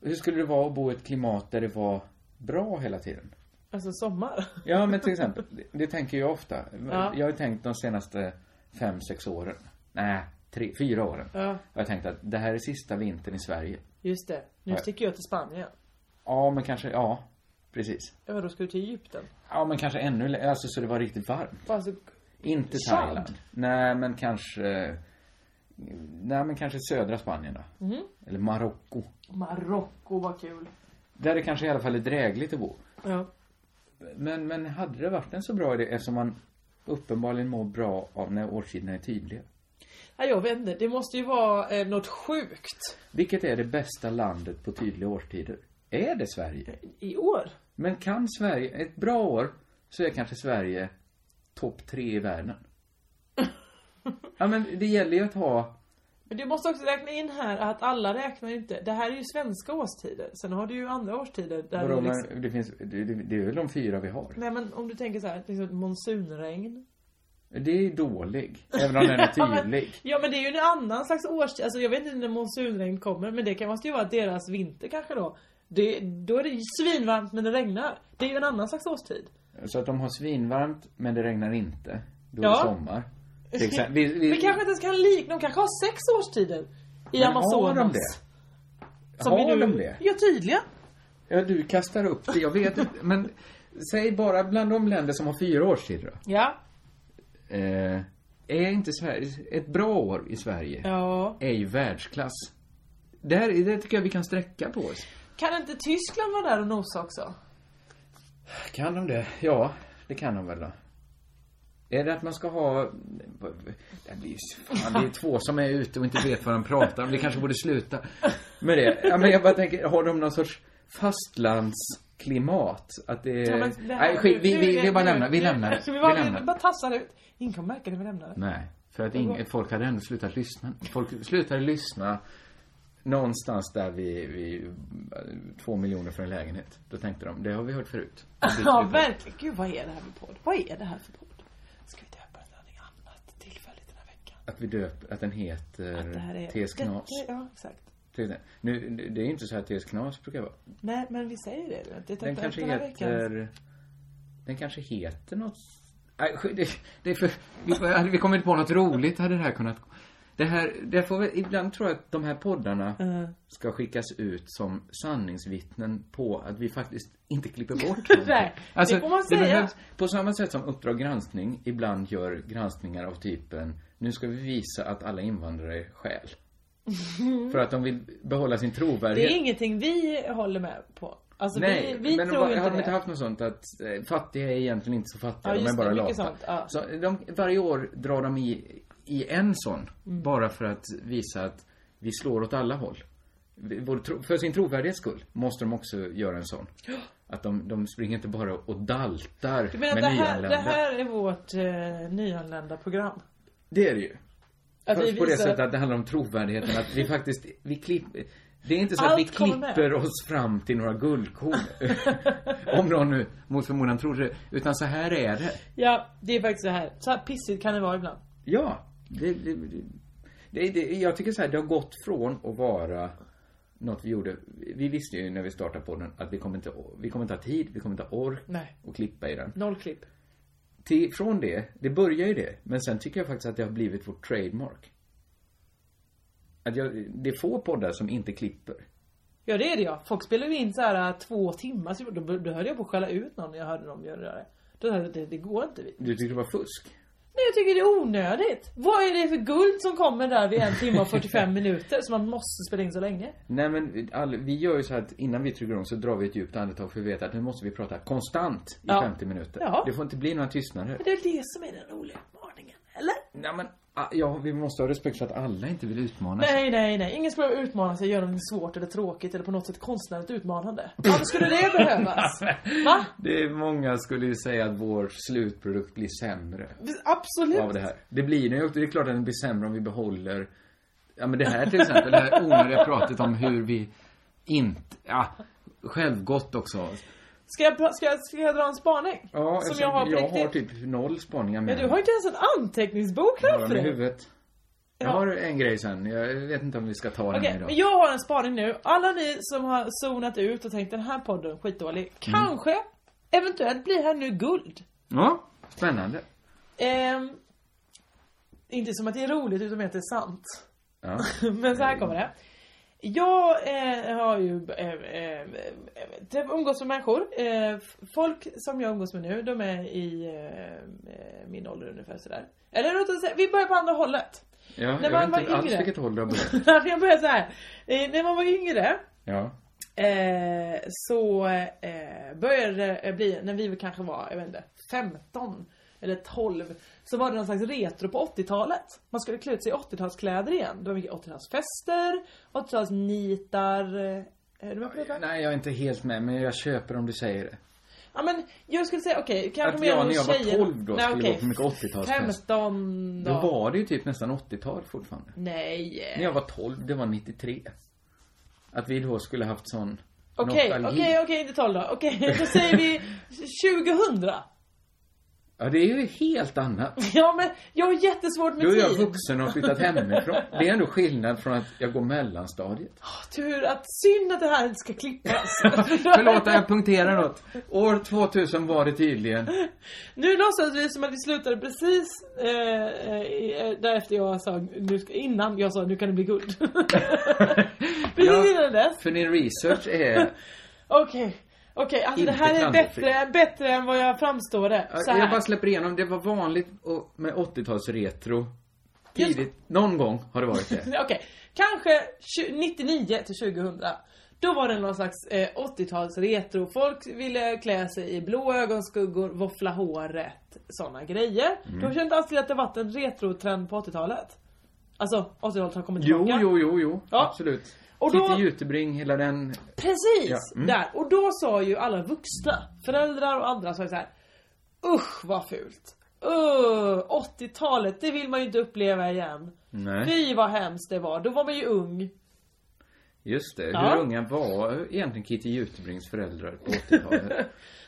[SPEAKER 6] Hur skulle det vara att bo i ett klimat där det var bra hela tiden?
[SPEAKER 7] Alltså sommar.
[SPEAKER 6] Ja, men till exempel. Det, det tänker jag ofta.
[SPEAKER 7] Ja.
[SPEAKER 6] Jag har ju tänkt de senaste fem, sex åren. Nej, tre, fyra åren.
[SPEAKER 7] Ja.
[SPEAKER 6] Jag har tänkt att det här är sista vintern i Sverige.
[SPEAKER 7] Just det. Nu
[SPEAKER 6] Nej.
[SPEAKER 7] sticker jag till Spanien.
[SPEAKER 6] Ja, men kanske, ja. Precis.
[SPEAKER 7] Ja vadå, ska du till Egypten?
[SPEAKER 6] Ja, men kanske ännu lä- Alltså så det var riktigt varmt.
[SPEAKER 7] Alltså,
[SPEAKER 6] Inte
[SPEAKER 7] Chad.
[SPEAKER 6] Thailand. Nej, men kanske... Nej, men kanske södra Spanien då.
[SPEAKER 7] Mhm.
[SPEAKER 6] Eller Marocko.
[SPEAKER 7] Marocko var kul.
[SPEAKER 6] Där det kanske i alla fall är drägligt att bo.
[SPEAKER 7] Ja.
[SPEAKER 6] Men, men hade det varit en så bra idé eftersom man uppenbarligen mår bra av när årstiderna är tydliga?
[SPEAKER 7] Nej jag vet inte, det måste ju vara eh, något sjukt.
[SPEAKER 6] Vilket är det bästa landet på tydliga årstider? Är det Sverige?
[SPEAKER 7] I år?
[SPEAKER 6] Men kan Sverige, ett bra år, så är kanske Sverige topp tre i världen. ja men det gäller ju att ha,
[SPEAKER 7] Men du måste också räkna in här att alla räknar ju inte. Det här är ju svenska årstider. Sen har du ju andra årstider där
[SPEAKER 6] vadå,
[SPEAKER 7] det liksom...
[SPEAKER 6] men det finns, det, det, det är väl de fyra vi har.
[SPEAKER 7] Nej men om du tänker så här, liksom monsunregn.
[SPEAKER 6] Det är ju dålig, även om den är
[SPEAKER 7] Ja, men-
[SPEAKER 6] tydlig.
[SPEAKER 7] Ja men det är ju en annan slags årstid, alltså jag vet inte när monsunregn kommer men det kan måste ju vara deras vinter kanske då. Det, då är det ju svinvarmt men det regnar. Det är ju en annan slags årstid.
[SPEAKER 6] Så att de har svinvarmt, men det regnar inte. Då är
[SPEAKER 7] Ja.
[SPEAKER 6] det sommar. Till exempel- Vi, vi,
[SPEAKER 7] Vi kanske inte ens kan likna, de kanske har sex årstider. I
[SPEAKER 6] Men
[SPEAKER 7] Amazonas.
[SPEAKER 6] Har de det?
[SPEAKER 7] Som
[SPEAKER 6] har
[SPEAKER 7] vi nu-
[SPEAKER 6] de det?
[SPEAKER 7] Ja tydligen.
[SPEAKER 6] Ja, du kastar upp det. Jag vet inte. Men säg bara bland de länder som har fyra årstider då.
[SPEAKER 7] Ja.
[SPEAKER 6] Eh, är inte Sverige... Ett bra år i Sverige
[SPEAKER 7] Ja.
[SPEAKER 6] är ju världsklass. Det, här, det tycker jag vi kan sträcka på oss.
[SPEAKER 7] Kan inte Tyskland vara där och nosa också?
[SPEAKER 6] Kan de det? Ja, det kan de väl då. Är det att man ska ha... Det, här blir, ju- fan, det är två som är ute och inte vet vad de pratar om. Vi kanske borde sluta med det. Ja, men jag bara tänker, har de någon sorts fastlandsklimat? Att det är...
[SPEAKER 7] Ja, men det här-
[SPEAKER 6] Eh, Nej, skit, vi,
[SPEAKER 7] nu-
[SPEAKER 6] vi,
[SPEAKER 7] nu-
[SPEAKER 6] vi bara
[SPEAKER 7] nu-
[SPEAKER 6] lämnar, vi
[SPEAKER 7] nu-
[SPEAKER 6] lämnar det.
[SPEAKER 7] Ska vi
[SPEAKER 6] Vi
[SPEAKER 7] bara,
[SPEAKER 6] lämnar
[SPEAKER 7] vi
[SPEAKER 6] det.
[SPEAKER 7] bara tassar ut? Ingen kommer märka när vi lämnar det.
[SPEAKER 6] Nej, för att ing, folk hade ändå slutat lyssna. Folk slutade lyssna någonstans där vi, vi två miljoner för en lägenhet. Då tänkte de, det har vi hört förut.
[SPEAKER 7] Ja, verkligen. Gud, vad är det här för podd? Vad är det här för podd? Ska vi döpa den till någonting annat tillfälligt den här veckan?
[SPEAKER 6] Att vi döper, att den heter
[SPEAKER 7] Att det här är...
[SPEAKER 6] T.S. Knas.
[SPEAKER 7] Det- Ja, exakt.
[SPEAKER 6] Till exempel. Nu, det är ju inte så här T.S. Knas brukar vara.
[SPEAKER 7] Nej, men vi säger det. Det
[SPEAKER 6] Den
[SPEAKER 7] är tänkte
[SPEAKER 6] kanske
[SPEAKER 7] efter den här veckan.
[SPEAKER 6] heter... eh, Den kanske heter något... Nej, sk- det, det är för, vi, hade vi kommit på något roligt hade det här kunnat... Det här, det får vi, ibland tror jag att de här poddarna ska skickas ut som sanningsvittnen på att vi faktiskt inte klipper bort någonting. Alltså,
[SPEAKER 7] Nej, det får man säga.
[SPEAKER 6] behövs- på samma sätt som Uppdrag granskning ibland gör granskningar av typen nu ska vi visa att alla invandrare är skäl. För att de vill behålla sin
[SPEAKER 7] Det
[SPEAKER 6] trovärdighet.
[SPEAKER 7] är ingenting vi håller med på. Alltså, Nej, vi, vi
[SPEAKER 6] men
[SPEAKER 7] tror
[SPEAKER 6] de,
[SPEAKER 7] inte
[SPEAKER 6] har de
[SPEAKER 7] det.
[SPEAKER 6] inte haft något sånt att eh, fattiga är egentligen inte så fattiga, de
[SPEAKER 7] Ja,
[SPEAKER 6] är
[SPEAKER 7] just
[SPEAKER 6] bara
[SPEAKER 7] det,
[SPEAKER 6] lata.
[SPEAKER 7] mycket sånt, ja.
[SPEAKER 6] Så de, varje år drar de i, i en sån,
[SPEAKER 7] Mm.
[SPEAKER 6] bara för att visa att vi slår åt alla håll. Vi- vår tro- För sin trovärdighets skull måste de också göra en sån. Att de, de springer inte bara och daltar
[SPEAKER 7] Du menar att
[SPEAKER 6] med
[SPEAKER 7] det här,
[SPEAKER 6] nyanlända.
[SPEAKER 7] det här är vårt eh, nyanlända program?
[SPEAKER 6] Det är det ju.
[SPEAKER 7] Att vi
[SPEAKER 6] Fast på det
[SPEAKER 7] visar-
[SPEAKER 6] sättet att det handlar om trovärdigheten, att vi faktiskt, vi klipper det är inte så att
[SPEAKER 7] Allt
[SPEAKER 6] vi
[SPEAKER 7] kommer med.
[SPEAKER 6] klipper oss fram till några guldkorn. om någon nu mot förmodan tror det. Utan så här är det.
[SPEAKER 7] Ja, det är faktiskt så här. Så här pissigt kan det vara ibland.
[SPEAKER 6] Ja. Det, det, det, det, det, jag tycker så här, det har gått från att vara något vi gjorde. Vi visste ju när vi startade podden att vi kommer inte, vi kommer inte ha tid, vi kommer inte ha ork
[SPEAKER 7] Nej.
[SPEAKER 6] att klippa i den.
[SPEAKER 7] Noll klipp.
[SPEAKER 6] Till, från det, det börjar ju det. Men sen tycker jag faktiskt att det har blivit vårt trademark. Att jag, det är få poddar som inte klipper.
[SPEAKER 7] Ja det är det ja. Folk spelar ju in så här äh, två timmar, så då, då höll jag på att skälla ut någon när jag hörde dem göra det. Då hörde jag, det, det går inte. vi.
[SPEAKER 6] Du tyckte det var fusk?
[SPEAKER 7] Nej jag tycker det är onödigt. Vad är det för guld som kommer där vid en timme och 45 minuter som man måste spela in så länge?
[SPEAKER 6] Nej men all, vi gör ju så här att innan vi trycker igång så drar vi ett djupt andetag för vi vet att nu måste vi prata konstant i
[SPEAKER 7] Ja.
[SPEAKER 6] 50 minuter.
[SPEAKER 7] Ja.
[SPEAKER 6] Det får inte bli några tystnader.
[SPEAKER 7] Men det är det som är den roliga utmaningen, eller?
[SPEAKER 6] Nej men, ah, ja, vi måste ha respekt för att alla inte vill utmana sig.
[SPEAKER 7] Nej, nej, nej. Ingen ska behöva utmana sig, göra något svårt eller tråkigt eller på något sätt konstnärligt utmanande. Varför skulle det behövas? Va?
[SPEAKER 6] Det är många skulle ju säga att vår slutprodukt blir sämre
[SPEAKER 7] Absolut.
[SPEAKER 6] av det här. Det blir den ju och det är klart att den blir sämre om vi behåller Ja men det här till exempel, det här onödiga pratet om hur vi inte, ja, självgott också.
[SPEAKER 7] Ska jag, pra- ska jag, ska jag dra en spaning?
[SPEAKER 6] Ja,
[SPEAKER 7] som
[SPEAKER 6] eftersom
[SPEAKER 7] jag har på
[SPEAKER 6] jag
[SPEAKER 7] riktigt.
[SPEAKER 6] har typ noll spaningar med
[SPEAKER 7] Men du har ju inte ens en anteckningsbok
[SPEAKER 6] Jag har
[SPEAKER 7] framför
[SPEAKER 6] dem i
[SPEAKER 7] dig.
[SPEAKER 6] huvudet. Jag har en grej sen, jag vet inte om vi ska ta den
[SPEAKER 7] Okej,
[SPEAKER 6] här idag.
[SPEAKER 7] men jag har en spaning nu. Alla ni som har zonat ut och tänkt den här podden är skitdålig. Kanske, eventuellt blir här nu guld.
[SPEAKER 6] Ja, spännande.
[SPEAKER 7] Ehm, inte som att det är roligt utan att det är sant.
[SPEAKER 6] Ja.
[SPEAKER 7] Men så här kommer det. Jag eh, har ju eh, eh, eh, umgås med människor. Eh, folk som jag umgås med nu, de är i eh, eh, min ålder ungefär sådär. Eller låt oss säga, vi börjar på andra hållet.
[SPEAKER 6] Ja,
[SPEAKER 7] När
[SPEAKER 6] jag
[SPEAKER 7] man
[SPEAKER 6] vet
[SPEAKER 7] var
[SPEAKER 6] inte alls
[SPEAKER 7] yngre.
[SPEAKER 6] vilket håll du har börjat.
[SPEAKER 7] jag börjar så här. Eh, när man var yngre
[SPEAKER 6] Ja.
[SPEAKER 7] Eh, så eh, började det bli, när vi kanske var, jag vet inte, 15 eller 12 så var det någon slags retro på 80-talet. Man skulle klä ut sig i 80-talskläder igen. Det var mycket 80-talsfester, 80-talsnitar. eh, Är du med på det?
[SPEAKER 6] Nej, jag är inte helt med, men jag köper om du säger det.
[SPEAKER 7] Ja men jag skulle säga okej, kanske
[SPEAKER 6] Att
[SPEAKER 7] mer
[SPEAKER 6] jag när jag var
[SPEAKER 7] tjejerna-
[SPEAKER 6] 12 då
[SPEAKER 7] Nej,
[SPEAKER 6] skulle
[SPEAKER 7] okej,
[SPEAKER 6] gå på mycket 80-talsfest.
[SPEAKER 7] 15
[SPEAKER 6] Då
[SPEAKER 7] då.
[SPEAKER 6] var det ju typ nästan 80-tal fortfarande.
[SPEAKER 7] Nej.
[SPEAKER 6] När jag var 12, det var 93. Att vi då skulle haft sån
[SPEAKER 7] Okej,
[SPEAKER 6] nostalgi.
[SPEAKER 7] okej, okej, inte 12 då. Okej, då säger vi 2000.
[SPEAKER 6] Ja, det är ju helt annat.
[SPEAKER 7] Ja men jag har jättesvårt med
[SPEAKER 6] Då är jag
[SPEAKER 7] tid.
[SPEAKER 6] vuxen och har flyttat hemifrån. Det är ändå skillnad från att jag går mellanstadiet.
[SPEAKER 7] Tur att, synd att det här inte ska klippas.
[SPEAKER 6] Förlåt, jag punkterar något. År 2000 var det tydligen.
[SPEAKER 7] Nu låtsas vi som att vi slutade precis eh, eh, därefter jag sa, nu, ska- innan jag sa nu kan det bli guld. precis
[SPEAKER 6] Ja.
[SPEAKER 7] innan dess.
[SPEAKER 6] För din research är...
[SPEAKER 7] Okej, okej, alltså det
[SPEAKER 6] Inte
[SPEAKER 7] här är
[SPEAKER 6] klanderfritt.
[SPEAKER 7] bättre, bättre än vad jag framstår det. Så
[SPEAKER 6] Jag bara
[SPEAKER 7] här.
[SPEAKER 6] släpper igenom. Det var vanligt och- med 80-talsretro. Tidigt. Någon gång har det varit det.
[SPEAKER 7] Okej, kanske 20, 99 till 2000. Då var det någon slags eh, 80-tals retro. Folk ville klä sig i blå ögonskuggor, våffla håret, sådana grejer.
[SPEAKER 6] Mm.
[SPEAKER 7] Du har känt alls till att det varit en retrotrend på 80-talet? Alltså, 80-talet har kommit
[SPEAKER 6] Jo,
[SPEAKER 7] tillbaka.
[SPEAKER 6] jo, jo, jo. Absolut.
[SPEAKER 7] Och
[SPEAKER 6] Och
[SPEAKER 7] då-
[SPEAKER 6] då... Titti Jutebring, hela den...
[SPEAKER 7] Precis!
[SPEAKER 6] Ja, mm.
[SPEAKER 7] Där. Och då sa ju alla vuxna, föräldrar och andra, sa ju så här. Usch vad fult! Öh, 80-talet, det vill man ju inte uppleva igen.
[SPEAKER 6] Nej,
[SPEAKER 7] Fy vad hemskt det var, då var man ju ung.
[SPEAKER 6] just det. Hur
[SPEAKER 7] Ja.
[SPEAKER 6] unga var egentligen Kitty Jutebrings föräldrar på 80-talet?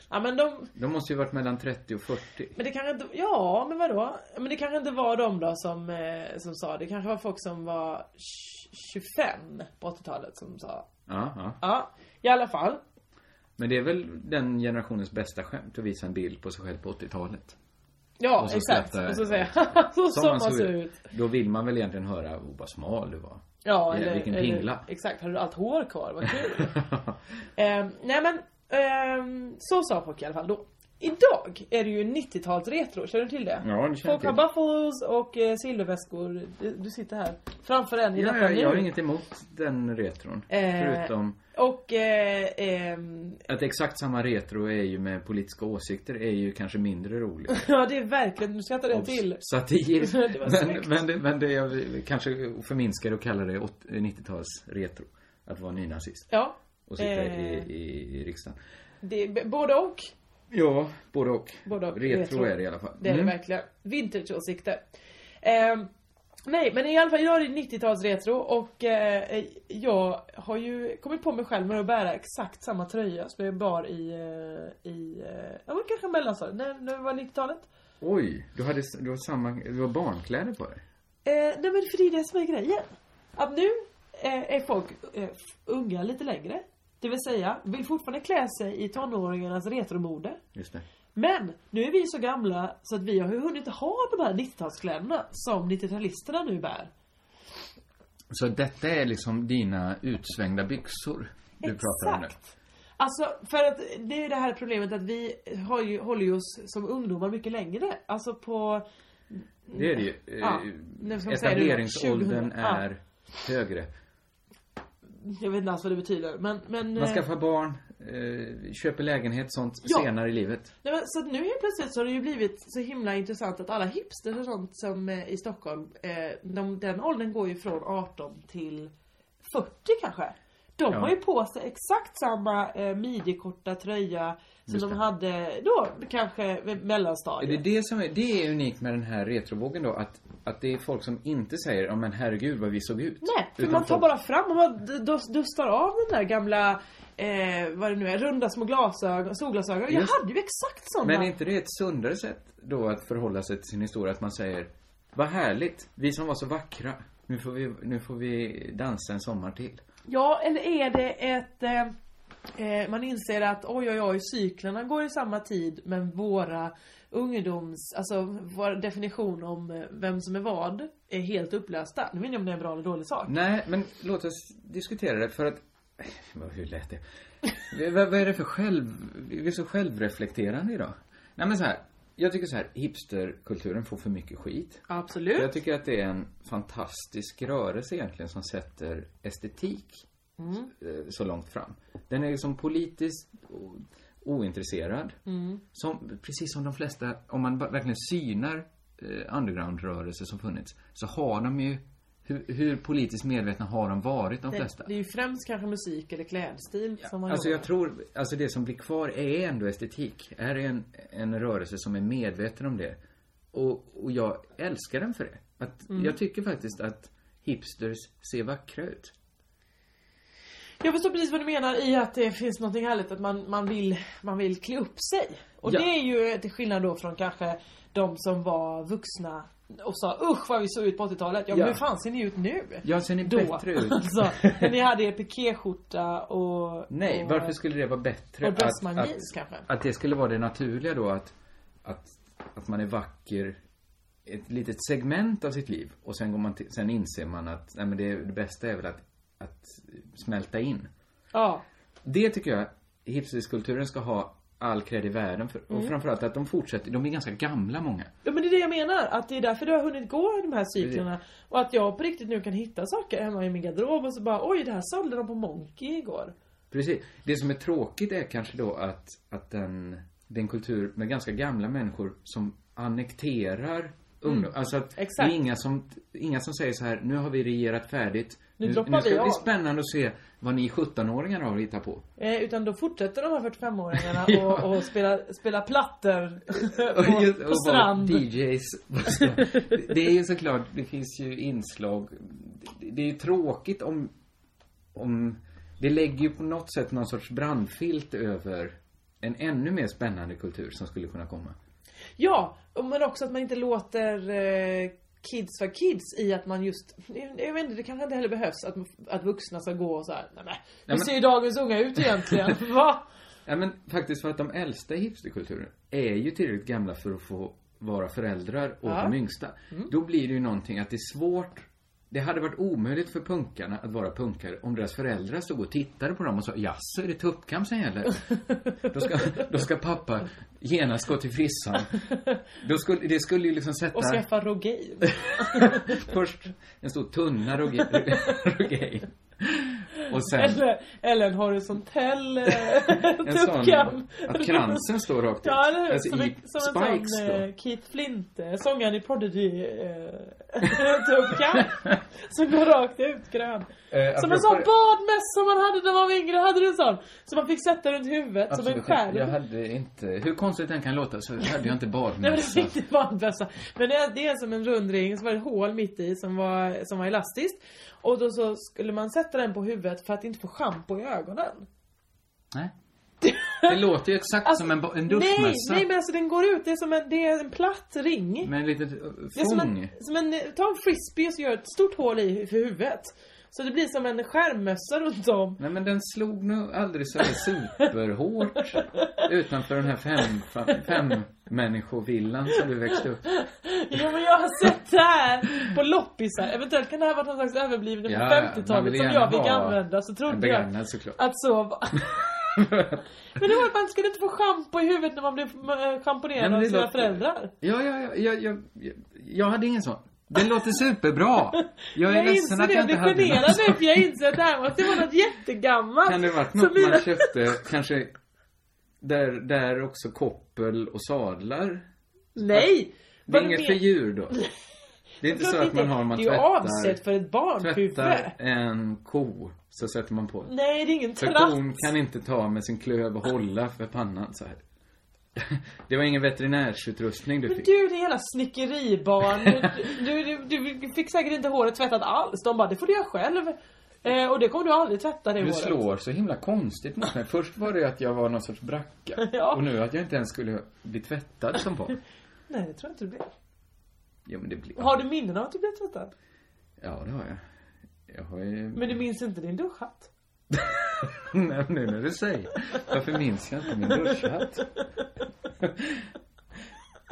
[SPEAKER 7] Ja men de,
[SPEAKER 6] De måste ju varit mellan 30 och 40.
[SPEAKER 7] Men det kanske inte, ja men vadå? Men det kanske inte var de då som, eh, som sa det. kanske var folk som var tj- 25 på 80-talet som sa.
[SPEAKER 6] Ja, ja.
[SPEAKER 7] Ja, i alla fall.
[SPEAKER 6] Men det är väl den generationens bästa skämt att visa en bild på sig själv på 80-talet.
[SPEAKER 7] Ja,
[SPEAKER 6] Och så
[SPEAKER 7] exakt.
[SPEAKER 6] skrattar jag.
[SPEAKER 7] Och så säger jag, så som man ser ut.
[SPEAKER 6] Då vill man väl egentligen höra, oh vad smal du var.
[SPEAKER 7] Ja,
[SPEAKER 6] Eller,
[SPEAKER 7] eller,
[SPEAKER 6] vilken
[SPEAKER 7] eller-
[SPEAKER 6] pingla.
[SPEAKER 7] Exakt, har du allt hår kvar? Vad kul. Ehm, nej men, ehm, så sa folk i alla fall då. Idag är det ju 90-tals retro, känner du till det?
[SPEAKER 6] Ja, det känner jag
[SPEAKER 7] Folk har
[SPEAKER 6] till.
[SPEAKER 7] buffalos och eh, silverväskor. Du, du sitter här framför en i
[SPEAKER 6] Ja,
[SPEAKER 7] detta
[SPEAKER 6] jag, jag har
[SPEAKER 7] nu.
[SPEAKER 6] inget emot den retron.
[SPEAKER 7] Eh,
[SPEAKER 6] Förutom
[SPEAKER 7] Och eh, ehm,
[SPEAKER 6] att exakt samma retro är ju med politiska åsikter är ju kanske mindre roligt.
[SPEAKER 7] Ja det är verkligen, nu skrattar jag till.
[SPEAKER 6] Satir.
[SPEAKER 7] det var
[SPEAKER 6] men,
[SPEAKER 7] snyggt.
[SPEAKER 6] men, det, men det jag kanske förminskar och kallar det åt- 90-tals retro. Att vara nynazist.
[SPEAKER 7] Ja.
[SPEAKER 6] Och sitta
[SPEAKER 7] Eh.
[SPEAKER 6] i, i, i riksdagen.
[SPEAKER 7] Det är b- både och.
[SPEAKER 6] Ja, både och.
[SPEAKER 7] Både och.
[SPEAKER 6] retro, är det i alla fall. Mm.
[SPEAKER 7] Det är det verkligen. Vintageåsikter. Ehm, nej men i alla fall, idag är det 90-tals retro och eh, jag har ju kommit på mig själv med att bära exakt samma tröja som jag bar i, eh, i eh, ja men kanske mellanstadiet, när, när det var 90-talet.
[SPEAKER 6] Oj, du hade, s- du har samma, du har barnkläder på dig.
[SPEAKER 7] Eh, nej men för det är det som är grejen. Att nu eh, är folk eh, f- unga lite längre. Det vill säga, vill fortfarande klä sig i tonåringarnas retromode.
[SPEAKER 6] Just det.
[SPEAKER 7] Men nu är vi så gamla så att vi har ju hunnit ha de här 90-talskläderna som 90-talisterna nu bär.
[SPEAKER 6] Så detta är liksom dina utsvängda byxor du pratar om nu?
[SPEAKER 7] Alltså för att det
[SPEAKER 6] Eh,
[SPEAKER 7] är ju det här problemet att vi har ju, håller ju oss som ungdomar mycket längre. Alltså på
[SPEAKER 6] Det är det ju. Eh,
[SPEAKER 7] Ja, nu ska man säga det då.
[SPEAKER 6] Etableringsåldern
[SPEAKER 7] 2000. Ja.
[SPEAKER 6] är högre.
[SPEAKER 7] Jag vet inte alls vad det betyder. Men, men,
[SPEAKER 6] Man
[SPEAKER 7] eh,
[SPEAKER 6] skaffar barn, eh, köper lägenhet, sånt
[SPEAKER 7] Ja.
[SPEAKER 6] senare i livet.
[SPEAKER 7] Nej, men, så att nu helt plötsligt så har det ju blivit så himla intressant att alla hipsters och sånt som eh, i Stockholm, eh, de, den åldern går ju från 18 till 40 kanske. De
[SPEAKER 10] Ja.
[SPEAKER 7] har ju på sig exakt samma eh, midjekorta tröja som
[SPEAKER 6] Just
[SPEAKER 7] de
[SPEAKER 6] det.
[SPEAKER 7] hade då, kanske vid
[SPEAKER 6] Är
[SPEAKER 7] mellanstadiet.
[SPEAKER 6] det, det, som är, det är unikt med den här retrovågen då, att, att det är folk som inte säger ja men herregud vad vi såg ut.
[SPEAKER 7] Nej, för
[SPEAKER 6] Utan
[SPEAKER 7] man tar
[SPEAKER 6] folk-
[SPEAKER 7] bara fram och man d- dus- dustar av den där gamla, eh, vad det nu är, runda små glasögon, solglasögon. Jag
[SPEAKER 6] Just.
[SPEAKER 7] hade ju exakt sådana.
[SPEAKER 6] Men är inte det ett sundare sätt då att förhålla sig till sin historia? Att man säger Vad härligt, vi som var så vackra. Nu får vi, nu får vi dansa en sommar till.
[SPEAKER 7] Ja, eller är det ett... Eh, eh, man inser att oj, oj, oj, cyklerna går i samma tid men våra ungdoms... Alltså vår definition om eh, vem som är vad är helt upplösta. Nu vet jag inte om det är en bra eller dålig sak.
[SPEAKER 6] Nej, men låt oss diskutera det för att... Eh, vad- Hur lät det? V- vad, vad är det för själv... Vi är så självreflekterande idag. Nej men så här. Jag tycker så här, hipsterkulturen får för mycket skit.
[SPEAKER 7] Absolut.
[SPEAKER 6] Jag tycker att det är en fantastisk rörelse egentligen som sätter estetik
[SPEAKER 7] Mm.
[SPEAKER 6] eh, så långt fram. Den är liksom politiskt o- ointresserad.
[SPEAKER 7] Mm.
[SPEAKER 6] Som, precis som de flesta, om man ba- verkligen synar eh, undergroundrörelser som funnits, så har de ju, hur, hur politiskt medvetna har de varit de
[SPEAKER 7] Det,
[SPEAKER 6] flesta?
[SPEAKER 7] det är ju främst kanske musik eller klädstil som man
[SPEAKER 6] Alltså
[SPEAKER 7] gör.
[SPEAKER 6] jag tror, alltså det som blir kvar är ändå estetik. Här är en, en rörelse som är medveten om det. Och, och jag älskar den för det. Att,
[SPEAKER 7] Mm.
[SPEAKER 6] Jag tycker faktiskt att hipsters ser vackra ut.
[SPEAKER 7] Jag förstår precis vad du menar i att det finns något härligt att man, man, vill, man vill klä upp sig. Och
[SPEAKER 6] Ja.
[SPEAKER 7] det är ju till skillnad då från kanske de som var vuxna och sa usch vad vi såg ut på 80-talet. Ja, men
[SPEAKER 6] Ja.
[SPEAKER 7] hur fan ser ni ut nu?
[SPEAKER 6] Ja, ser ni
[SPEAKER 7] då.
[SPEAKER 6] bättre ut?
[SPEAKER 7] alltså, när ni hade er pikéskjorta och...
[SPEAKER 6] Nej,
[SPEAKER 7] och,
[SPEAKER 6] varför skulle det vara bättre
[SPEAKER 7] och bröstmangis kanske?
[SPEAKER 6] Att det skulle vara det naturliga då att, att, att man är vacker ett litet segment av sitt liv och sen, går man till, sen inser man att nej, men det, det bästa är väl att, att smälta in.
[SPEAKER 7] Ja.
[SPEAKER 6] Det tycker jag hipsterskulpturen ska ha all cred i världen för. Och
[SPEAKER 7] Mm.
[SPEAKER 6] framförallt att de fortsätter, de är ganska gamla många.
[SPEAKER 7] Ja men det är det jag menar, att det är därför du har hunnit gå i de här cyklerna Och att jag på riktigt nu kan hitta saker hemma i min garderob och så bara oj det här sålde de på Monkey igår
[SPEAKER 6] Precis. Det som är tråkigt är kanske då att, att den, det är en kultur med ganska gamla människor som annekterar ungdom. Alltså att
[SPEAKER 7] Mm. Exakt.
[SPEAKER 6] det är inga som, inga som säger så här, nu har vi regerat färdigt.
[SPEAKER 7] Nu
[SPEAKER 6] nu,
[SPEAKER 7] droppar
[SPEAKER 6] nu ska
[SPEAKER 7] vi
[SPEAKER 6] det
[SPEAKER 7] av."
[SPEAKER 6] bli spännande att se vad ni 17-åringar har att hitta på.
[SPEAKER 7] Eh, utan då fortsätter de här 45-åringarna och, och spela, spela plattor
[SPEAKER 6] Och just- och
[SPEAKER 7] på, på
[SPEAKER 6] vara
[SPEAKER 7] strand.
[SPEAKER 6] DJs. Det- Det är ju såklart, det finns ju inslag. Det- Det är ju tråkigt om, om det lägger ju på något sätt någon sorts brandfilt över en ännu mer spännande kultur som skulle kunna komma.
[SPEAKER 7] Ja, och men också att man inte låter eh, kids för kids i att man just, jag vet inte, det kanske inte heller behövs att, att vuxna ska gå och så här. nej men, hur
[SPEAKER 6] men-
[SPEAKER 7] ser ju dagens unga ut egentligen? Va?
[SPEAKER 6] Ja men faktiskt för att de äldsta i hipsterkulturen är ju tillräckligt gamla för att få vara föräldrar åt
[SPEAKER 7] Ja. Mm.
[SPEAKER 6] de yngsta. Då blir det ju någonting att det är svårt. Det hade varit omöjligt för punkarna att vara punkare om deras föräldrar stod och tittade på dem och sa jaså är det tuppkam som gäller? då, ska, då ska pappa genast gå till frissan. Då skulle, det skulle ju liksom sätta
[SPEAKER 7] Och skaffa Rogaine.
[SPEAKER 6] först en stor tunna Rogaine. Rogaine. Och sen
[SPEAKER 7] Eller, eller en horisontell eh,
[SPEAKER 6] en sån,
[SPEAKER 7] tuppkam.
[SPEAKER 6] att kransen står rakt ut.
[SPEAKER 7] Ja, eller hur?
[SPEAKER 6] Alltså
[SPEAKER 7] som,
[SPEAKER 6] i
[SPEAKER 7] en, som en
[SPEAKER 6] spikes
[SPEAKER 7] sån
[SPEAKER 6] då.
[SPEAKER 7] eh, Keith Flint, eh, sångaren i Prodigy, eh, tuppkam. som går rakt ut grön.
[SPEAKER 6] Eh,
[SPEAKER 7] som
[SPEAKER 6] apropå
[SPEAKER 7] en sån
[SPEAKER 6] det-
[SPEAKER 7] badmössa som man hade när man var yngre, hade du en sån? Som man fick sätta runt huvudet som en
[SPEAKER 6] Absolut,
[SPEAKER 7] skärm.
[SPEAKER 6] Jag hade inte, hur konstigt den kan låta så hade jag inte
[SPEAKER 7] Nej men
[SPEAKER 6] badmössa.
[SPEAKER 7] det är inte badmössa. Men det är, det är som en rundring som var ett hål mitt i som var, som var elastiskt. Och då så skulle man sätta den på huvudet för att inte få schampo i ögonen.
[SPEAKER 6] Nej. Det låter ju exakt som en, ba- en duschmössa.
[SPEAKER 7] Alltså, Nej, nej men alltså den går ut, det är som en, det är en platt ring.
[SPEAKER 6] Med en litet eh,
[SPEAKER 7] Det är som
[SPEAKER 6] fång.
[SPEAKER 7] en, som en, ta en frisbee och så gör ett stort hål i för huvudet. Så det blir som en skärmmössa runt om.
[SPEAKER 6] Nej men den slog nog aldrig så här superhårt utanför den här fem, fem människovillan som du växte upp
[SPEAKER 7] Ja men jag har sett det här på loppisar. Eventuellt kan det här vara någon slags överblivning
[SPEAKER 6] Ja,
[SPEAKER 7] på
[SPEAKER 6] ja, man
[SPEAKER 7] 50-talet
[SPEAKER 6] vill
[SPEAKER 7] som
[SPEAKER 6] gärna
[SPEAKER 7] jag fick
[SPEAKER 6] ha
[SPEAKER 7] använda. Så
[SPEAKER 6] en
[SPEAKER 7] trodde jag
[SPEAKER 6] begagnad såklart.
[SPEAKER 7] att så var. Men det var att man skulle inte få schampo i huvudet när man blev eh,
[SPEAKER 6] Nej,
[SPEAKER 7] schamponerad
[SPEAKER 6] men
[SPEAKER 7] av
[SPEAKER 6] det
[SPEAKER 7] sina
[SPEAKER 6] låter-
[SPEAKER 7] föräldrar.
[SPEAKER 6] Ja, ja, ja, jag, jag, jag, jag hade ingen sån. Det låter superbra. Jag är
[SPEAKER 7] inser
[SPEAKER 6] ledsen att
[SPEAKER 7] det,
[SPEAKER 6] jag inte
[SPEAKER 7] jag
[SPEAKER 6] hade
[SPEAKER 7] blir generad
[SPEAKER 6] någon
[SPEAKER 7] nu
[SPEAKER 6] sån.
[SPEAKER 7] för jag inser att det här måste vara något jättegammalt.
[SPEAKER 6] Kan det ha varit
[SPEAKER 7] Så
[SPEAKER 6] något
[SPEAKER 7] mina-
[SPEAKER 6] man köpte, kanske, där, där också koppel och sadlar?
[SPEAKER 7] Nej!
[SPEAKER 6] Det
[SPEAKER 7] Vad
[SPEAKER 6] är
[SPEAKER 7] men-
[SPEAKER 6] inget för djur då? Det är inte
[SPEAKER 7] Klart
[SPEAKER 6] så att man har, man
[SPEAKER 7] Det är ju
[SPEAKER 6] tvättar-
[SPEAKER 7] avsett för ett barnhuvud.
[SPEAKER 6] Tvättar en ko, så sätter man på.
[SPEAKER 7] Nej, det är ingen
[SPEAKER 6] För
[SPEAKER 7] tratt.
[SPEAKER 6] kon kan inte ta med sin klöv och hålla för pannan så här. Det var ingen veterinärsutrustning du
[SPEAKER 7] Men
[SPEAKER 6] fick.
[SPEAKER 7] du, det är hela snickeribarn. Du, du, du, du fick säkert inte håret tvättat alls. De bara, det får du göra själv. Eh, och det kommer du aldrig tvätta det
[SPEAKER 6] Du
[SPEAKER 7] håret.
[SPEAKER 6] slår så himla konstigt mot mig. Först var det att jag var någon sorts bracka.
[SPEAKER 7] Ja.
[SPEAKER 6] Och nu att jag inte ens skulle bli tvättad som barn.
[SPEAKER 7] Nej, det tror jag inte du blir.
[SPEAKER 6] Ja men det blir...
[SPEAKER 7] Har du minnen av att du blev tvättad?
[SPEAKER 6] Ja det har jag. Jag har ju...
[SPEAKER 7] Men du minns inte din duschhatt?
[SPEAKER 6] Nej, nu när du säger. Varför minns jag inte min duschhatt?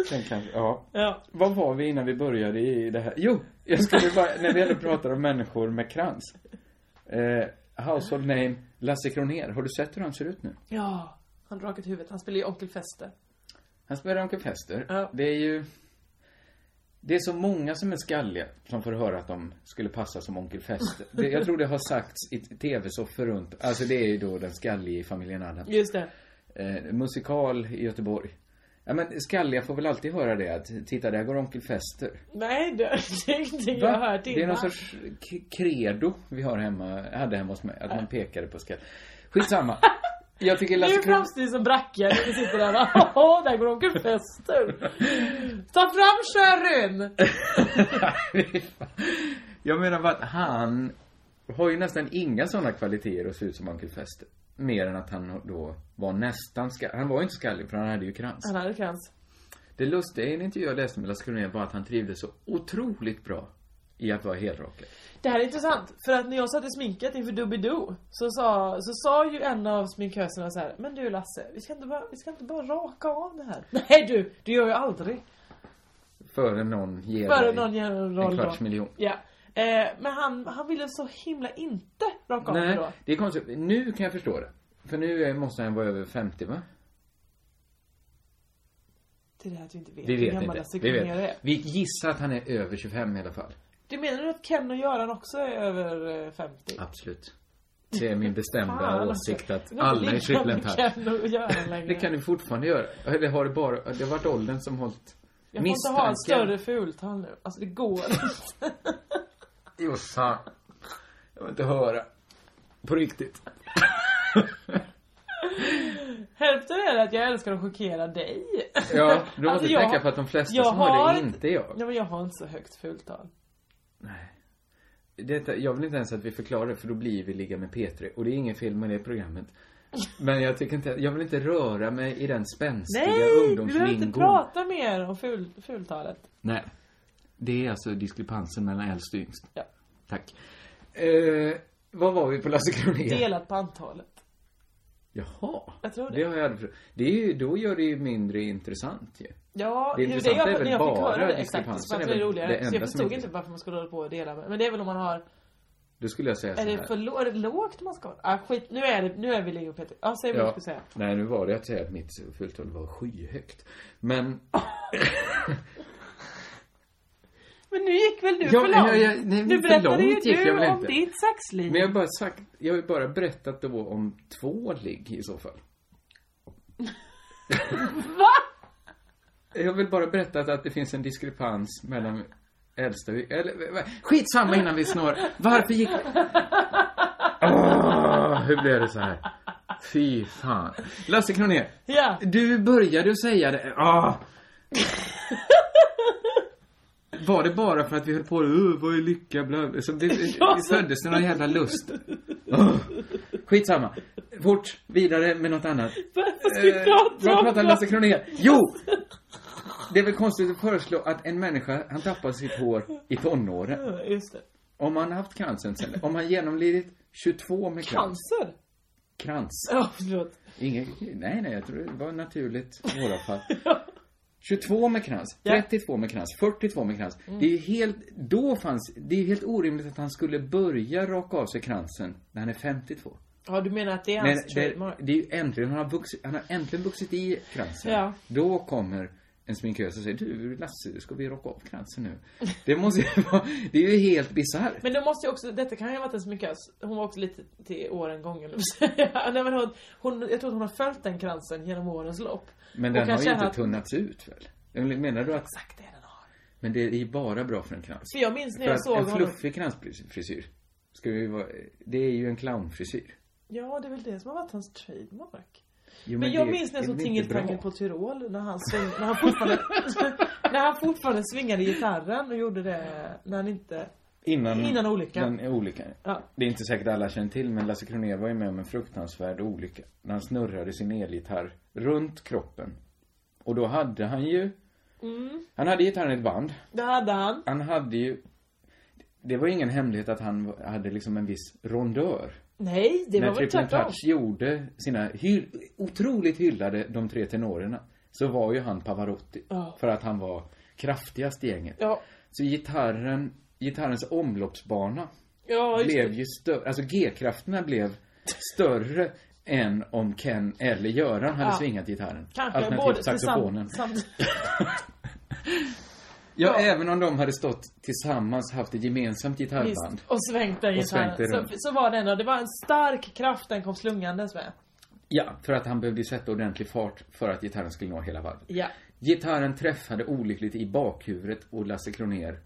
[SPEAKER 6] Sen kanske, ja.
[SPEAKER 7] Ja.
[SPEAKER 6] Vad var vi innan vi började i det här? Jo, jag skulle bara, när vi ändå pratar om människor med krans. Eh, household name, Lasse Kronér. Har du sett hur han ser ut nu?
[SPEAKER 7] Ja, han har rakat huvudet. Han spelar ju Onkel Fester.
[SPEAKER 6] Han spelar Onkel Fester. Det är ju... Det är så många som är skalliga som får höra att de skulle passa som Onkel Fester. Det, jag tror det har sagts i tv-soffor runt. Alltså det är ju då den skallige i familjen Adams.
[SPEAKER 7] Just det.
[SPEAKER 6] Eh, musikal i Göteborg. Ja men skalliga får väl alltid höra det att titta där går Onkel Fester.
[SPEAKER 7] Nej, det det är ingenting jag
[SPEAKER 6] Va?
[SPEAKER 7] har hört innan.
[SPEAKER 6] Det är någon sorts k- credo vi har hemma, hade hemma hos mig. Att man pekade på skall. Skitsamma. Jag tycker Lasse
[SPEAKER 7] Nu
[SPEAKER 6] Kronér...
[SPEAKER 7] framstår du som brackiga när du sitter där och Åh, där går Onkel Fester. Ta fram körun!
[SPEAKER 6] Jag menar bara att han har ju nästan inga sådana kvaliteter och ser ut som Onkel Fester. Mer än att han då var nästan skallig. Han var ju inte skallig för han hade ju krans.
[SPEAKER 7] Han hade krans.
[SPEAKER 6] Det lustiga i en intervju jag läste med Lasse Kronér var att han trivdes så otroligt bra i att vara helrakad.
[SPEAKER 7] Det här är intressant, för att när jag satt i sminket inför Doobidoo så sa, så sa ju en av sminköserna så här, Men du Lasse, vi ska, inte bara, vi ska inte bara raka av det här Nej du, det gör jag aldrig
[SPEAKER 6] Före någon ger
[SPEAKER 7] Före
[SPEAKER 6] dig
[SPEAKER 7] någon ger en roll
[SPEAKER 6] en kvarts
[SPEAKER 7] då.
[SPEAKER 6] miljon.
[SPEAKER 7] Ja eh, Men han, han ville så himla inte raka av det
[SPEAKER 6] Nej,
[SPEAKER 7] då
[SPEAKER 6] det är konstigt. Nu kan jag förstå det. För nu är- måste han vara över 50 va?
[SPEAKER 7] Till det här att vi inte vet
[SPEAKER 6] Vi
[SPEAKER 7] hur
[SPEAKER 6] vet
[SPEAKER 7] gammal
[SPEAKER 6] inte.
[SPEAKER 7] Lasse
[SPEAKER 6] Vi,
[SPEAKER 7] Kronér är.
[SPEAKER 6] vet. vi gissar att han är över 25 i alla fall.
[SPEAKER 7] Du menar du att Ken och Göran också är över eh, 50?
[SPEAKER 6] Absolut. Det är min bestämda
[SPEAKER 7] Fan, alltså.
[SPEAKER 6] åsikt att
[SPEAKER 7] Det är
[SPEAKER 6] alla
[SPEAKER 7] inte
[SPEAKER 6] är
[SPEAKER 7] lika med
[SPEAKER 6] trippelentär.
[SPEAKER 7] Ken och Göran längre.
[SPEAKER 6] Det kan du fortfarande göra. Eller har det bara, det har varit åldern som hållit
[SPEAKER 7] Jag får inte ha en större fultand nu. Alltså det går inte.
[SPEAKER 6] Jossan. Jag vill inte höra. På riktigt.
[SPEAKER 7] Hälften är det att jag älskar att chockera dig.
[SPEAKER 6] Ja, du måste
[SPEAKER 7] Alltså, jag-
[SPEAKER 6] tänka på att de flesta
[SPEAKER 7] jag
[SPEAKER 6] som hör det
[SPEAKER 7] har-
[SPEAKER 6] inte är jag.
[SPEAKER 7] Nej men jag har inte så högt fultal.
[SPEAKER 6] Detta, jag vill inte ens att vi förklarar det för då blir vi ligga med P3 och det är ingen fel med det programmet. Men jag tycker inte, jag vill inte röra mig i den spänstiga
[SPEAKER 7] Nej! Vi behöver inte
[SPEAKER 6] ungdomslingon.
[SPEAKER 7] prata mer om ful, fultalet.
[SPEAKER 6] Nej. Det är alltså diskrepansen mellan äldst och yngst.
[SPEAKER 7] Ja.
[SPEAKER 6] Tack. Eh, vad var vi på Lasse Kronér?
[SPEAKER 7] Delat på antalet.
[SPEAKER 6] Jaha.
[SPEAKER 7] Jag tror det.
[SPEAKER 6] Det har jag aldrig förstått. Det är ju, då gör det ju mindre intressant ju.
[SPEAKER 7] Ja,
[SPEAKER 6] det är
[SPEAKER 7] det är ju det
[SPEAKER 6] intressant,
[SPEAKER 7] jag,
[SPEAKER 6] det är väl
[SPEAKER 7] när jag fick
[SPEAKER 6] bara
[SPEAKER 7] höra det exakt. Så
[SPEAKER 6] diskrepansen
[SPEAKER 7] var
[SPEAKER 6] är
[SPEAKER 7] det
[SPEAKER 6] väl det
[SPEAKER 7] roligare. Så
[SPEAKER 6] enda
[SPEAKER 7] jag
[SPEAKER 6] som
[SPEAKER 7] förstod
[SPEAKER 6] är-
[SPEAKER 7] inte varför man skulle hålla på och dela med. Men det är väl om man har
[SPEAKER 6] Då skulle jag säga så
[SPEAKER 7] Är
[SPEAKER 6] här.
[SPEAKER 7] det för lo- är det lågt man ska ah, skit, nu är det, nu är vi Leo Peter. Ja, säg vad du skulle säga.
[SPEAKER 6] Nej, nu var det att säga att mitt fulltal var skyhögt. Men...
[SPEAKER 7] Men nu gick väl du
[SPEAKER 6] Ja,
[SPEAKER 7] för långt?
[SPEAKER 6] ja, ja, nej,
[SPEAKER 7] nu
[SPEAKER 6] för
[SPEAKER 7] berättade
[SPEAKER 6] långt
[SPEAKER 7] ju
[SPEAKER 6] gick jag
[SPEAKER 7] du
[SPEAKER 6] väl
[SPEAKER 7] om
[SPEAKER 6] inte.
[SPEAKER 7] ditt saxliv.
[SPEAKER 6] Men jag har bara sagt, jag har ju bara berättat då om två ligg i så fall.
[SPEAKER 7] Va?
[SPEAKER 6] Jag har väl bara berättat att det finns en diskrepans mellan äldsta och... Eller, va- skitsamma innan vi snår. Varför gick... Åh, hur blev det så här? Fy fan. Lasse Kronér.
[SPEAKER 7] Ja.
[SPEAKER 6] Du började ju säga det. Ah. Åh. Var det bara för att vi höll på uh, vad är lycka, bla, så det, det föddes det någon jävla lust? Åh. Skitsamma. Fort, vidare med något annat.
[SPEAKER 7] Varför ska vi
[SPEAKER 6] Eh,
[SPEAKER 7] prata
[SPEAKER 6] Vad
[SPEAKER 7] om
[SPEAKER 6] pratar
[SPEAKER 7] det?
[SPEAKER 6] Lasse Kronér? Jo! Det är väl konstigt att föreslå att en människa, han tappar sitt hår i tonåren.
[SPEAKER 7] Ja, Just det.
[SPEAKER 6] Om han har haft cancern sen, om han genomlidit 22 med krans.
[SPEAKER 7] Cancer?
[SPEAKER 6] Krans.
[SPEAKER 7] Ja, förlåt.
[SPEAKER 6] Inget, nej, nej, jag tror det var naturligt i våra fall. 22 med krans, 32 med krans, 42 med krans.
[SPEAKER 7] Mm.
[SPEAKER 6] Det är ju helt, då fanns, det är ju helt orimligt att han skulle börja raka av sig kransen när han är 52.
[SPEAKER 7] Ja, du menar att det är
[SPEAKER 6] Nej,
[SPEAKER 7] hans
[SPEAKER 6] det,
[SPEAKER 7] trademark?
[SPEAKER 6] det är ju äntligen, han har, vuxit, han har äntligen vuxit i kransen.
[SPEAKER 7] Ja.
[SPEAKER 6] Då kommer en sminkös och säger, du Lasse, ska vi rocka av kransen nu? Det måste ju vara, det är ju helt bisarrt.
[SPEAKER 7] Men det måste ju också, detta kan ju ha varit en smyckös. Hon var också lite till åren gången säga. Nej men hon, hon, jag tror att hon har följt den kransen genom årens lopp.
[SPEAKER 6] Men
[SPEAKER 7] Och
[SPEAKER 6] den
[SPEAKER 7] kan
[SPEAKER 6] har ju
[SPEAKER 7] känna
[SPEAKER 6] inte
[SPEAKER 7] att-
[SPEAKER 6] tunnats ut väl? Eller Menar du att... Exakt det den har. Men det är ju bara bra för en krans.
[SPEAKER 7] För jag minns när
[SPEAKER 6] För
[SPEAKER 7] jag
[SPEAKER 6] att
[SPEAKER 7] såg
[SPEAKER 6] en
[SPEAKER 7] honom-
[SPEAKER 6] fluffig kransfrisyr. Ska vi vara, det är ju en clownfrisyr.
[SPEAKER 7] Ja, det är väl det som har varit hans trademark.
[SPEAKER 6] Jo,
[SPEAKER 7] men,
[SPEAKER 6] men
[SPEAKER 7] jag
[SPEAKER 6] det-
[SPEAKER 7] minns när jag
[SPEAKER 6] det är
[SPEAKER 7] såg
[SPEAKER 6] väl inte
[SPEAKER 7] Tingeltangel
[SPEAKER 6] bra.
[SPEAKER 7] på Tyrol när han, sving, när, han fortfarande, när han fortfarande svingade gitarren och gjorde det när han inte...
[SPEAKER 6] Innan,
[SPEAKER 7] Innan olyckan.
[SPEAKER 6] Innan olyckan.
[SPEAKER 7] Ja.
[SPEAKER 6] Det är inte säkert alla känner till men Lasse Kronér var ju med om en fruktansvärd olycka. När han snurrade sin elgitarr runt kroppen. Och då hade han ju,
[SPEAKER 7] Mm,
[SPEAKER 6] han hade gitarren i ett band.
[SPEAKER 7] det hade han.
[SPEAKER 6] Han hade ju, det var ingen hemlighet att han hade liksom en viss rondör.
[SPEAKER 7] Nej, det
[SPEAKER 6] när
[SPEAKER 7] var väl
[SPEAKER 6] Triple
[SPEAKER 7] tvärtom.
[SPEAKER 6] Touch gjorde sina hyll, otroligt hyllade De tre tenorerna så var ju han Pavarotti.
[SPEAKER 7] Ja.
[SPEAKER 6] För att han var kraftigast i gänget.
[SPEAKER 7] Ja.
[SPEAKER 6] Så gitarren, gitarrens omloppsbana
[SPEAKER 7] Ja, just
[SPEAKER 6] blev ju större, alltså G-krafterna blev större än om Ken eller Göran hade
[SPEAKER 7] Ja.
[SPEAKER 6] svingat gitarren.
[SPEAKER 7] Kanske
[SPEAKER 6] Alternativt
[SPEAKER 7] både
[SPEAKER 6] saxofonen.
[SPEAKER 7] tillsammans. Samt,
[SPEAKER 6] Ja, även om de hade stått tillsammans, haft ett gemensamt gitarrband.
[SPEAKER 7] visst, och svängt den
[SPEAKER 6] Och svängt det
[SPEAKER 7] gitarren.
[SPEAKER 6] runt.
[SPEAKER 7] Så, så var det ändå. Det var en stark kraft den kom slungandes med.
[SPEAKER 6] Ja, för att han behövde ju sätta ordentlig fart för att gitarren skulle nå hela varvet.
[SPEAKER 7] Ja.
[SPEAKER 6] Gitarren träffade olyckligt i bakhuvudet och Lasse Kronér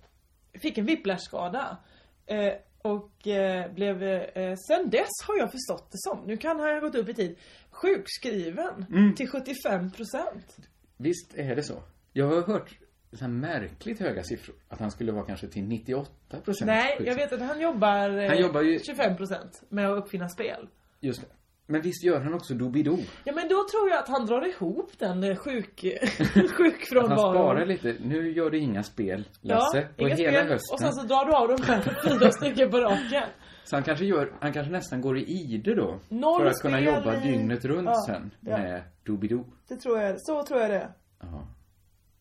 [SPEAKER 7] fick en whiplashskada. Eh, och eh, blev, eh, sen dess har jag förstått det som, nu kan han ha gått upp i tid, sjukskriven
[SPEAKER 6] Mm.
[SPEAKER 7] till 75%.
[SPEAKER 6] Visst är det så? Jag har hört så här märkligt höga siffror. Att han skulle vara kanske till 98 procent
[SPEAKER 7] Nej, jag vet att han jobbar, eh,
[SPEAKER 6] Han jobbar ju-
[SPEAKER 7] 25% med att uppfinna spel.
[SPEAKER 6] Just det. Men visst gör han också Doobidoo?
[SPEAKER 7] Ja men då tror jag att han drar ihop den eh, sjuk,
[SPEAKER 6] Att han sparar
[SPEAKER 7] sjukfrånvaron.
[SPEAKER 6] lite. Nu gör du inga spel, Lasse. på
[SPEAKER 7] inga
[SPEAKER 6] hela
[SPEAKER 7] spel.
[SPEAKER 6] hösten.
[SPEAKER 7] Och sen så drar du av de här fyra stycken på raken.
[SPEAKER 6] Så han kanske, gör, han kanske nästan går i ide då.
[SPEAKER 7] Noll
[SPEAKER 6] för att kunna
[SPEAKER 7] spel
[SPEAKER 6] jobba
[SPEAKER 7] i-
[SPEAKER 6] dygnet runt
[SPEAKER 7] Ja,
[SPEAKER 6] sen
[SPEAKER 7] ja.
[SPEAKER 6] med Doobidoo.
[SPEAKER 7] Det tror jag, så tror jag det är.
[SPEAKER 6] Ja.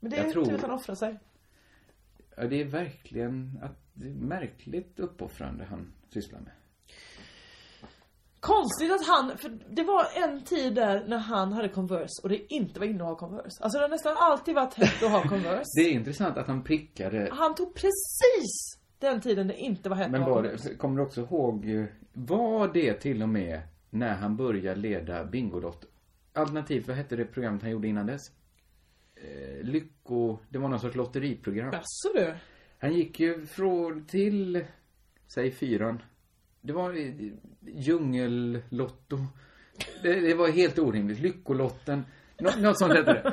[SPEAKER 7] Men det
[SPEAKER 6] Jag
[SPEAKER 7] är
[SPEAKER 6] tror-
[SPEAKER 7] tur att han offrar sig.
[SPEAKER 6] ja, det är verkligen att, det är märkligt uppoffrande han sysslar med.
[SPEAKER 7] Konstigt att han, för det var en tid där när han hade Converse och det inte var inne att ha Converse. Alltså det har nästan alltid varit hett att ha Converse.
[SPEAKER 6] Det är intressant att han prickade
[SPEAKER 7] Han tog precis den tiden det inte var hett
[SPEAKER 6] Men
[SPEAKER 7] att ha
[SPEAKER 6] var
[SPEAKER 7] Converse.
[SPEAKER 6] det, kommer du också ihåg, eh, var det till och med när han började leda Bingolotto? Alternativt, vad hette det programmet han gjorde innan dess? Eh, lycko... Det var någon sorts lotteriprogram.
[SPEAKER 7] Jaså du?
[SPEAKER 6] Han gick ju från till, säg fyran. Det var eh, djungellotto. Det, det var helt orimligt. Lyckolotten. Nå, något sånt hette det.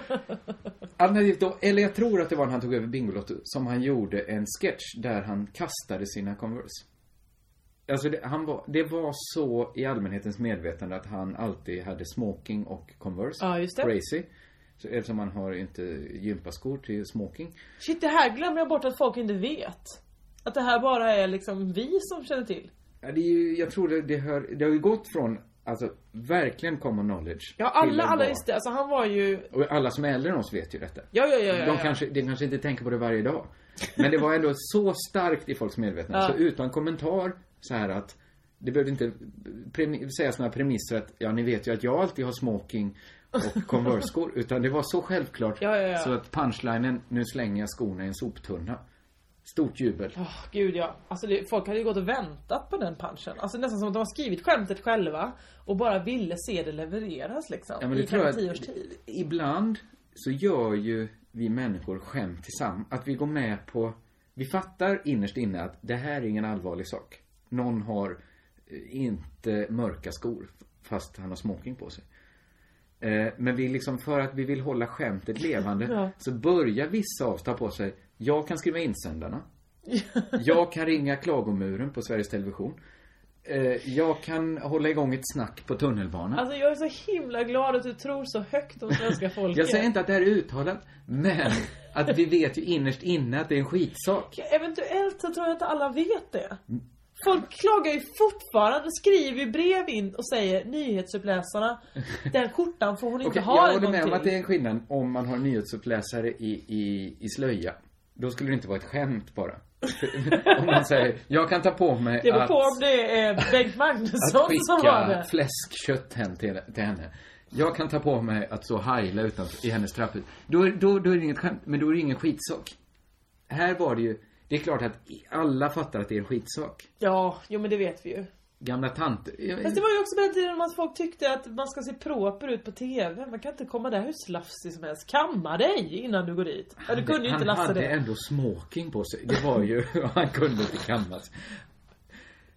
[SPEAKER 6] Alternativt då, eller jag tror att det var när han tog över Bingolotto som han gjorde en sketch där han kastade sina Converse. Alltså det, han var, det var så i allmänhetens medvetande att han alltid hade smoking och Converse.
[SPEAKER 7] Ja, just det.
[SPEAKER 6] Crazy. Så, eftersom han har inte gympaskor till smoking.
[SPEAKER 7] Shit det här glömmer jag bort att folk inte vet. Att det här bara är liksom vi som känner till.
[SPEAKER 6] Ja, det är ju, jag tror det, det, hör, det har ju gått från, alltså verkligen common knowledge.
[SPEAKER 7] Ja
[SPEAKER 6] till
[SPEAKER 7] alla,
[SPEAKER 6] att
[SPEAKER 7] alla
[SPEAKER 6] vara-
[SPEAKER 7] visste det. Alltså han var ju,
[SPEAKER 6] Och alla som är äldre än oss vet ju detta.
[SPEAKER 7] ja ja ja ja.
[SPEAKER 6] De
[SPEAKER 7] ja.
[SPEAKER 6] kanske, de kanske inte tänker på det varje dag. Men det var ändå så starkt i folks medvetande.
[SPEAKER 7] Ja.
[SPEAKER 6] Så utan kommentar så här att det behövde inte premi- sägas några premisser att ja, ni vet ju att jag alltid har smoking och Converse-skor. utan det var så självklart.
[SPEAKER 7] Ja, ja, ja.
[SPEAKER 6] Så att punchlinen, nu slänger jag skorna i en soptunna. Stort jubel.
[SPEAKER 7] Åh, gud ja. Alltså det, folk hade ju gått och väntat på den punchen. Alltså nästan som att de har skrivit skämtet själva och bara ville se det levereras liksom.
[SPEAKER 6] Ja, men det
[SPEAKER 7] I
[SPEAKER 6] tror jag
[SPEAKER 7] kanske tio års
[SPEAKER 6] att-
[SPEAKER 7] tid.
[SPEAKER 6] Ibland så gör ju vi människor skämt tillsammans. Att vi går med på... Vi fattar innerst inne att det här är ingen allvarlig sak. Någon har eh, inte mörka skor fast han har smoking på sig. Eh, Men vi liksom, för att vi vill hålla skämtet levande
[SPEAKER 7] Ja.
[SPEAKER 6] så börjar vissa av oss ta på sig, jag kan skriva insändarna. Jag kan ringa klagomuren på Sveriges Television. Eh, Jag kan hålla igång ett snack på tunnelbanan.
[SPEAKER 7] Alltså jag är så himla glad att du tror så högt om svenska folket.
[SPEAKER 6] Jag säger inte att det här är uttalat, men att vi vet ju innerst inne att det är en skitsak.
[SPEAKER 7] Eventuellt så tror jag inte alla vet det.
[SPEAKER 6] Mm.
[SPEAKER 7] Folk klagar ju fortfarande, skriver ju brev in och säger nyhetsuppläsarna, den skjortan får hon inte
[SPEAKER 6] Okej,
[SPEAKER 7] ha
[SPEAKER 6] jag håller
[SPEAKER 7] en
[SPEAKER 6] med
[SPEAKER 7] gång
[SPEAKER 6] om att
[SPEAKER 7] till.
[SPEAKER 6] det är en skillnad om man har en nyhetsuppläsare i, i, i slöja. Då skulle det inte vara ett skämt bara. Om man säger, jag kan ta på mig
[SPEAKER 7] Det beror
[SPEAKER 6] att,
[SPEAKER 7] på om det är Bengt Magnusson
[SPEAKER 6] att
[SPEAKER 7] som var
[SPEAKER 6] skicka
[SPEAKER 7] det.
[SPEAKER 6] fläskkött hem till, till henne. Jag kan ta på mig att så heila utanför, i hennes trapphus. Då, är- då, då är det inget skämt, men då är det ingen skitsak. Här var det ju, det är klart att i- alla fattar att det är en skitsak.
[SPEAKER 7] Ja, jo men det vet vi ju.
[SPEAKER 6] Gamla tanter. jag-
[SPEAKER 7] Fast det var ju också på den tiden att folk tyckte att man ska se proper ut på TV. Man kan inte komma där hur slafsig som helst. Kamma dig innan du går dit. Ja, du kunde ju inte
[SPEAKER 6] han
[SPEAKER 7] Lasse
[SPEAKER 6] hade
[SPEAKER 7] det.
[SPEAKER 6] ändå smoking på sig. Det var ju, han kunde inte kammas.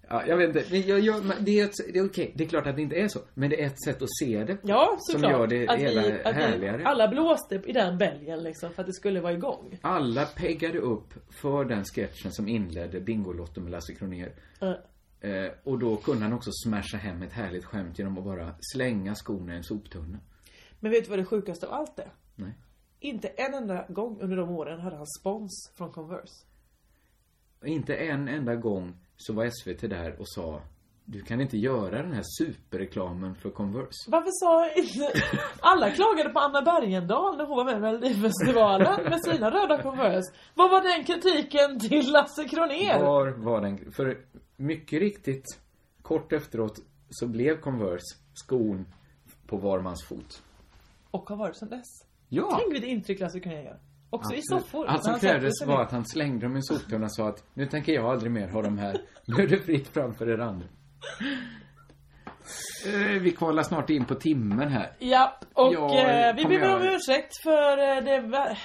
[SPEAKER 6] Ja, jag vet inte, men jag, jag, men det är, ett, det är okej. Det är klart att det inte är så. Men det är ett sätt att se det.
[SPEAKER 7] Ja,
[SPEAKER 6] som
[SPEAKER 7] såklart.
[SPEAKER 6] gör det
[SPEAKER 7] att vi-
[SPEAKER 6] hela
[SPEAKER 7] att vi-
[SPEAKER 6] härligare.
[SPEAKER 7] alla blåste i den bälgen liksom för att det skulle vara igång.
[SPEAKER 6] Alla peggade upp för den sketchen som inledde Bingolotto med Lasse Kronér.
[SPEAKER 7] Eh,
[SPEAKER 6] Eh, och då kunde han också smasha hem ett härligt skämt genom att bara slänga skorna i en soptunna.
[SPEAKER 7] Men vet du vad det sjukaste av allt är?
[SPEAKER 6] Nej.
[SPEAKER 7] Inte en enda gång under de åren hade han spons från Converse.
[SPEAKER 6] Och Inte en enda gång så var SVT där och sa du kan inte göra den här superreklamen för Converse.
[SPEAKER 7] Varför sa inte... Alla klagade på Anna Bergendahl när hon var med i Melodifestivalen med sina röda Converse. Vad var den kritiken till Lasse Kronér?
[SPEAKER 6] Var var den? För mycket riktigt, kort efteråt så blev Converse skon på var mans fot.
[SPEAKER 7] Och har varit sedan dess.
[SPEAKER 6] Ja.
[SPEAKER 7] Tänk vilket intryck Lasse Kronér gör. Också i
[SPEAKER 6] Absolut.
[SPEAKER 7] soffor.
[SPEAKER 6] Allt som
[SPEAKER 7] Han sätter
[SPEAKER 6] krävdes
[SPEAKER 7] sig
[SPEAKER 6] var
[SPEAKER 7] ner.
[SPEAKER 6] att han slängde dem i soptunnan och sa att nu tänker jag aldrig mer ha dem här. Nu är det fritt framför er andra. Eh, Vi kvalar snart in på timmen här.
[SPEAKER 7] Ja, och
[SPEAKER 6] Ja,
[SPEAKER 7] eh, vi
[SPEAKER 6] kommer
[SPEAKER 7] ber
[SPEAKER 6] jag-
[SPEAKER 7] om ursäkt för eh, det, va-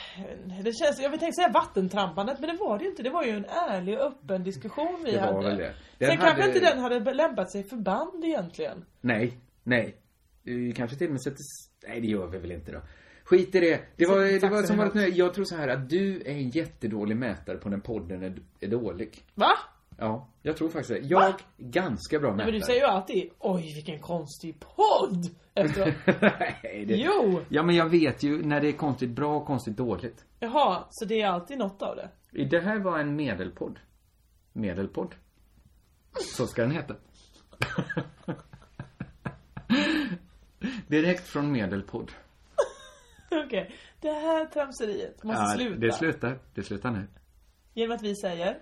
[SPEAKER 7] det känns, jag tänkte säga vattentrampandet, men det var det ju inte. Det var ju en ärlig och öppen diskussion vi
[SPEAKER 6] Det var
[SPEAKER 7] hade.
[SPEAKER 6] väl det. Den
[SPEAKER 7] Sen kanske
[SPEAKER 6] hade-
[SPEAKER 7] inte den hade lämpat sig för band egentligen.
[SPEAKER 6] Nej, nej. Eh, Vi kanske till och med sätter... s- Nej, det gör vi väl inte då. Skit i det. Det var, det var som varit nu. Jag tror så här att du är en jättedålig mätare på när podden är, är dålig.
[SPEAKER 7] Va?
[SPEAKER 6] Ja, jag tror faktiskt det. Jag, ganska bra
[SPEAKER 7] Nej,
[SPEAKER 6] mätare.
[SPEAKER 7] men du säger ju alltid Oj vilken konstig podd! Efteråt.
[SPEAKER 6] Nej, det...
[SPEAKER 7] jo!
[SPEAKER 6] Ja, men jag vet ju när det är konstigt bra och konstigt dåligt.
[SPEAKER 7] Jaha, så det är alltid något av det.
[SPEAKER 6] Det här var en medelpodd. Medelpodd. Så ska den heta. Direkt från medelpodd.
[SPEAKER 7] Okej. Det här tramseriet måste
[SPEAKER 6] Ja,
[SPEAKER 7] sluta.
[SPEAKER 6] Det slutar. Det slutar nu.
[SPEAKER 7] Genom att vi säger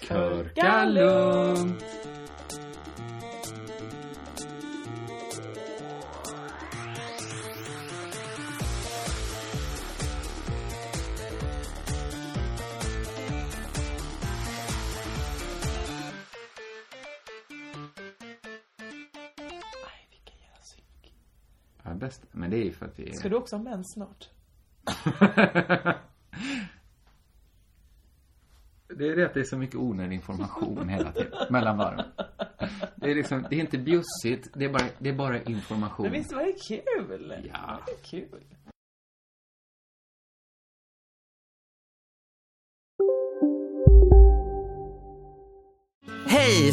[SPEAKER 6] Körka lugnt. Ja, bäst. Men det är ju för att det är...
[SPEAKER 7] Ska du också ha mens snart?
[SPEAKER 6] Det är det att det är så mycket onödig information hela tiden, mellan varven. Det är liksom, det är inte bjussigt, det är bara, det är bara information.
[SPEAKER 7] Men visst var det kul?
[SPEAKER 6] Ja.
[SPEAKER 7] Det är kul.
[SPEAKER 10] Hej,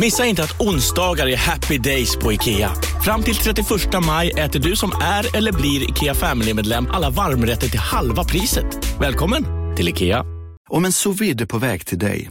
[SPEAKER 11] Missa inte att onsdagar är happy days på IKEA. Fram till 31 maj äter du som är eller blir IKEA Family-medlem alla varmrätter till halva priset. Välkommen till IKEA.
[SPEAKER 12] Om en sous vide är på väg till dig